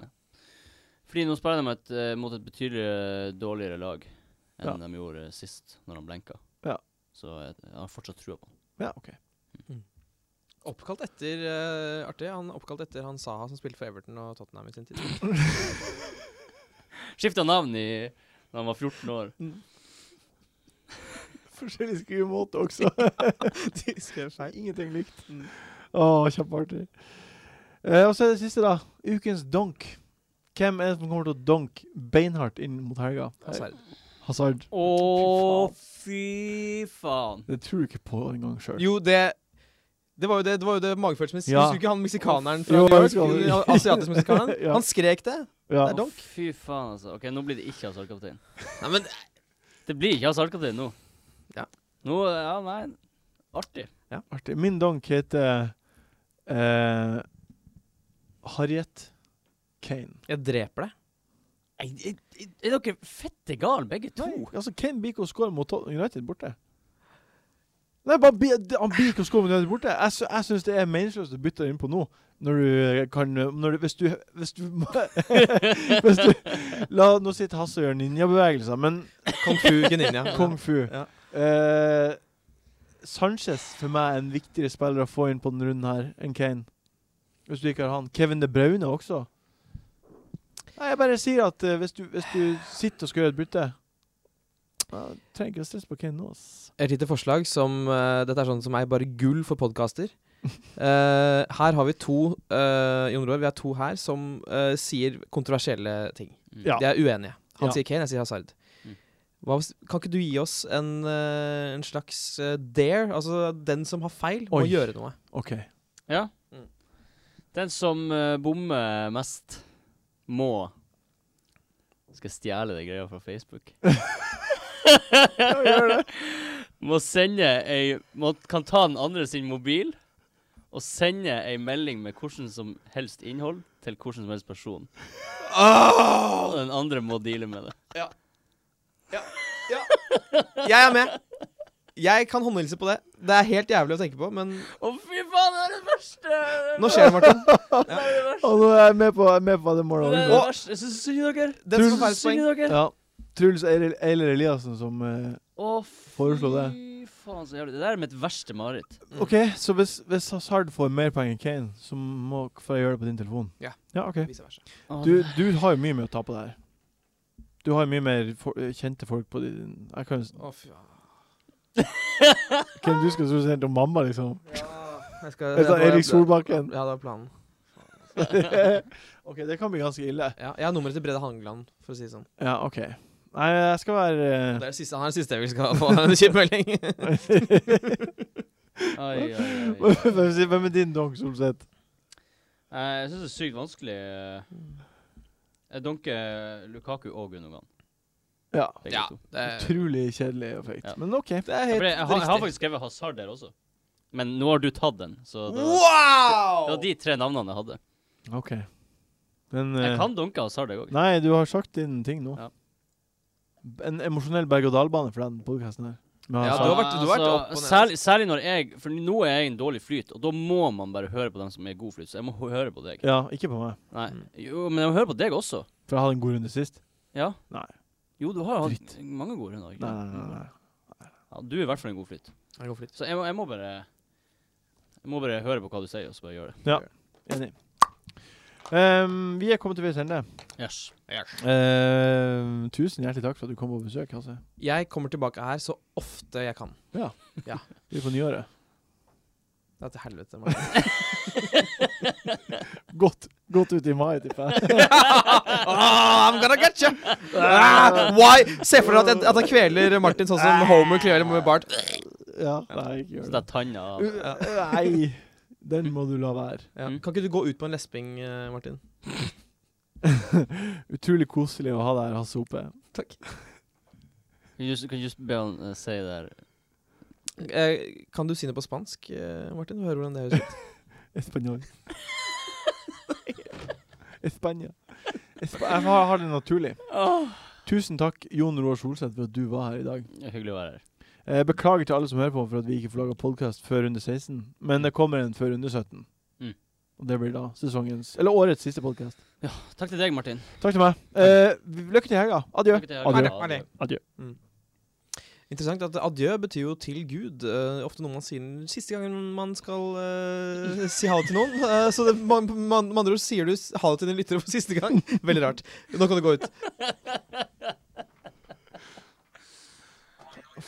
Speaker 2: Fordi nå spiller de et, eh, mot et betydelig eh, dårligere lag enn
Speaker 1: Ja.
Speaker 2: de gjorde sist, når han blenka.
Speaker 1: Ja.
Speaker 2: Så jeg, jeg har fortsatt trua på han.
Speaker 1: Ja, OK.
Speaker 5: Oppkalt etter eh, Artig. Han er oppkalt etter han Saha som spilte for Everton og Tottenham i sin tid.
Speaker 2: Skifta navn i da han var 14 år.
Speaker 1: Forskjellig skrivemåte også.
Speaker 5: De skrev feil.
Speaker 1: Ingenting likt. Å, kjempeartig. Eh, og så er det siste, da. Ukens donk. Hvem er det som kommer til å donke beinhardt inn mot helga?
Speaker 5: Hazard.
Speaker 1: Hazard.
Speaker 2: Å, fy faen!
Speaker 1: Det tror du ikke på engang sjøl.
Speaker 5: Jo, det det var jo det, det, var jo det magefølelsen min.
Speaker 1: Ja.
Speaker 5: Skulle ikke han meksikaneren fra
Speaker 1: Jo,
Speaker 5: New
Speaker 1: jeg skal-
Speaker 5: York, asiatisk-meksikaneren,
Speaker 1: Ja.
Speaker 5: han skrek det?
Speaker 1: Ja.
Speaker 5: Det er
Speaker 2: Å,
Speaker 5: donk.
Speaker 2: fy faen, altså. OK, nå blir det ikke Hazard-kaptein.
Speaker 5: Nei, men
Speaker 2: Det blir ikke Hazard-kaptein nå.
Speaker 5: Ja.
Speaker 2: Nå, ja, nei Artig.
Speaker 1: Artig. Min donk heter eh, Harriet Kane.
Speaker 5: Jeg dreper deg.
Speaker 2: Nei, Er er dere fette gale, begge to?
Speaker 1: Nei, altså Kane blir ikke å score mot Tottenham United borte. Nei, bare, bi- d- han blir ikke å score mot United borte. Jeg, sy jeg syns det er meningsløst å bytte inn på nå. Når du eh, kan når du, Hvis du Hvis du, hvis du La Nå sitter Hasse og gjør ninjabevegelser, men
Speaker 5: Kung fu geninja.
Speaker 1: kung fu
Speaker 5: Ja.
Speaker 1: Eh, Sanchez for meg er en viktigere spiller å få inn på denne runden her enn Kane. Hvis du ikke har han. Kevin De Braune også. Nei, jeg bare sier at eh, hvis, du, hvis du sitter og skal gjøre et bytte Ja, trenger ikke å stresse på Kane nå, ass.
Speaker 5: Et lite forslag som eh, Dette er sånn som er bare gull for podkaster. Eh, her har vi to eh, Jon Roar, vi er to her som eh, sier kontroversielle ting.
Speaker 2: Mm.
Speaker 1: Ja.
Speaker 5: De er uenige. Han
Speaker 1: Ja.
Speaker 5: sier Kane, jeg sier Hazard.
Speaker 2: Mm.
Speaker 5: Hva, hvis- kan ikke du gi oss en, eh, en slags eh, dare? Altså den som har feil, må
Speaker 1: Oi.
Speaker 5: gjøre noe.
Speaker 1: OK.
Speaker 2: Ja.
Speaker 5: Mm.
Speaker 2: Den som eh, bommer mest, må Skal jeg stjele det greia fra Facebook? må sende ei må, Kan ta den andre sin mobil og sende ei melding med hvordan som helst innhold til hvordan som helst person.
Speaker 1: Ah!
Speaker 2: Og den andre må deale med det.
Speaker 5: Jeg er med! Jeg kan håndhilse på det. Det er helt jævlig å tenke på, men
Speaker 2: Å, fy faen, det er det verste!
Speaker 5: nå skjer det, Martin.
Speaker 1: Og nå er jeg med på, jeg er med på hva det
Speaker 2: Det er
Speaker 1: målet
Speaker 2: det
Speaker 1: var.
Speaker 5: Å.
Speaker 2: verste. Jeg syns synd i dere.
Speaker 5: Den som får
Speaker 2: Jeg synes
Speaker 5: færrest
Speaker 2: synd
Speaker 5: poeng.
Speaker 2: i dere.
Speaker 1: Ja. Truls Eiril- Eiler Eliassen som eh,
Speaker 2: Å,
Speaker 1: Foreslo det.
Speaker 2: Fy faen, så jævlig. Det der er mitt verste mareritt.
Speaker 5: Mm.
Speaker 1: OK, så hvis, hvis Hazard får mer poeng enn Kane, så må får jeg gjøre det på din telefon?
Speaker 5: Ja.
Speaker 1: ja OK.
Speaker 5: Vice versa.
Speaker 2: Å,
Speaker 1: Du, du har jo mye med å ta på det her. Du har jo mye mer for, eh, kjente folk på din Jeg kan jo
Speaker 5: Å, fy faen.
Speaker 1: Hvem du skal synes er helt om mamma, liksom?
Speaker 5: Jeg skal-
Speaker 1: Er det
Speaker 5: jeg-
Speaker 1: Erik Solbakken?
Speaker 5: Ja, det var planen.
Speaker 1: OK, det kan bli ganske ille.
Speaker 5: Ja, jeg har nummeret til Brede Hangeland, for å si det sånn.
Speaker 1: Ja, OK. Nei, jeg skal være eh,
Speaker 5: Det er det siste, han er det siste jeg vil skal få en kjip melding.
Speaker 2: Ai, ai, ai.
Speaker 1: eh, Hvem sier- Hvem er din donk, Solseth?
Speaker 2: Eh, Jeg syns det er sykt vanskelig. Jeg dunker Lukaku og Gundogan.
Speaker 1: Ja.
Speaker 2: begge
Speaker 5: Ja,
Speaker 2: to.
Speaker 5: det er,
Speaker 1: Utrolig kjedelig og fake.
Speaker 2: Ja.
Speaker 1: Men OK.
Speaker 5: det er
Speaker 2: Ja,
Speaker 5: helt
Speaker 2: for jeg, jeg, har, jeg har
Speaker 5: riktig.
Speaker 2: faktisk skrevet Hazard der også. Men nå har du tatt den, så det var, det
Speaker 5: Wow!
Speaker 2: var de tre navnene jeg hadde.
Speaker 1: OK. Men eh,
Speaker 2: Jeg kan dunke Hazard, jeg òg.
Speaker 1: Nei, du har sagt din ting nå.
Speaker 2: Ja.
Speaker 1: En emosjonell berg-og-dal-bane for den podkasten her. Med
Speaker 5: Ja,
Speaker 1: Hazard.
Speaker 5: du har vært- du har vært opp og ned.
Speaker 2: altså, særlig, særlig når jeg For nå er jeg i en dårlig flyt, og da må man bare høre på dem som er i god flyt. Så jeg må hø- høre på deg.
Speaker 1: ja, ikke på meg.
Speaker 2: Nei. Jo, men jeg må høre på deg også.
Speaker 1: For jeg hadde en god runde sist.
Speaker 2: Ja.
Speaker 1: Nei.
Speaker 2: Jo, du har jo hatt mange gode runder. ikke
Speaker 1: Nei,
Speaker 2: sant?
Speaker 1: nei, nei. nei.
Speaker 2: Ja, du er i hvert fall i en god flyt.
Speaker 5: Jeg går for litt.
Speaker 2: Så jeg må, jeg må bare Jeg må bare høre på hva du sier, og så bare gjøre det.
Speaker 1: Enig. Ehm, vi er kommet til veis ende.
Speaker 2: Yes.
Speaker 1: Ehm, tusen hjertelig takk for at du kom på besøk. Altså.
Speaker 5: Jeg kommer tilbake her så ofte jeg kan.
Speaker 1: Vi er på nyåret.
Speaker 5: Det er til helvete. Martin.
Speaker 1: Godt, godt ut i mai, tipper jeg.
Speaker 5: Ah, I'm gonna get you! Ah, why? Se for deg at, jeg- at han kveler Martin sånn som Homer kveler med Bart.
Speaker 1: Ja, nei, ikke gjør
Speaker 2: Så
Speaker 1: det.
Speaker 2: det er tanna
Speaker 1: Uh, Nei, den må du la være.
Speaker 5: Ja.
Speaker 2: Mm.
Speaker 5: Kan ikke du gå ut på en lesping, eh, Martin?
Speaker 1: Utrolig koselig å ha deg her, Hasse Hope.
Speaker 2: Kan du kan just be han eh, si det der
Speaker 5: Eh, kan du si det på spansk, eh, Martin? Du hører hvordan det høres ut.
Speaker 1: Espanol. Espania. Espa jeg har, har det naturlig.
Speaker 2: Ah.
Speaker 1: Tusen takk, Jon Roar Solseth, for at du var her i dag.
Speaker 2: Det er Hyggelig å være her.
Speaker 1: Eh, beklager til alle som hører på for at vi ikke får laga podkast før runde 16, men det kommer en før runde 17.
Speaker 2: Mm.
Speaker 1: Og det blir da sesongens, eller årets siste podkast.
Speaker 2: Takk til deg, Martin.
Speaker 1: Takk til meg. Eh, lykke til i helga. Adjø.
Speaker 2: Lykke til i helga.
Speaker 1: Adjø.
Speaker 5: Ha det.
Speaker 1: Adjø.
Speaker 5: Interessant at adjø betyr jo til Gud. eh, ofte noe man sier den siste gangen man skal eh, si ha det til noen. Eh, så det, man, man, med andre ord sier du s- ha det til din lytter for siste gang. Veldig rart. Nå kan du gå ut.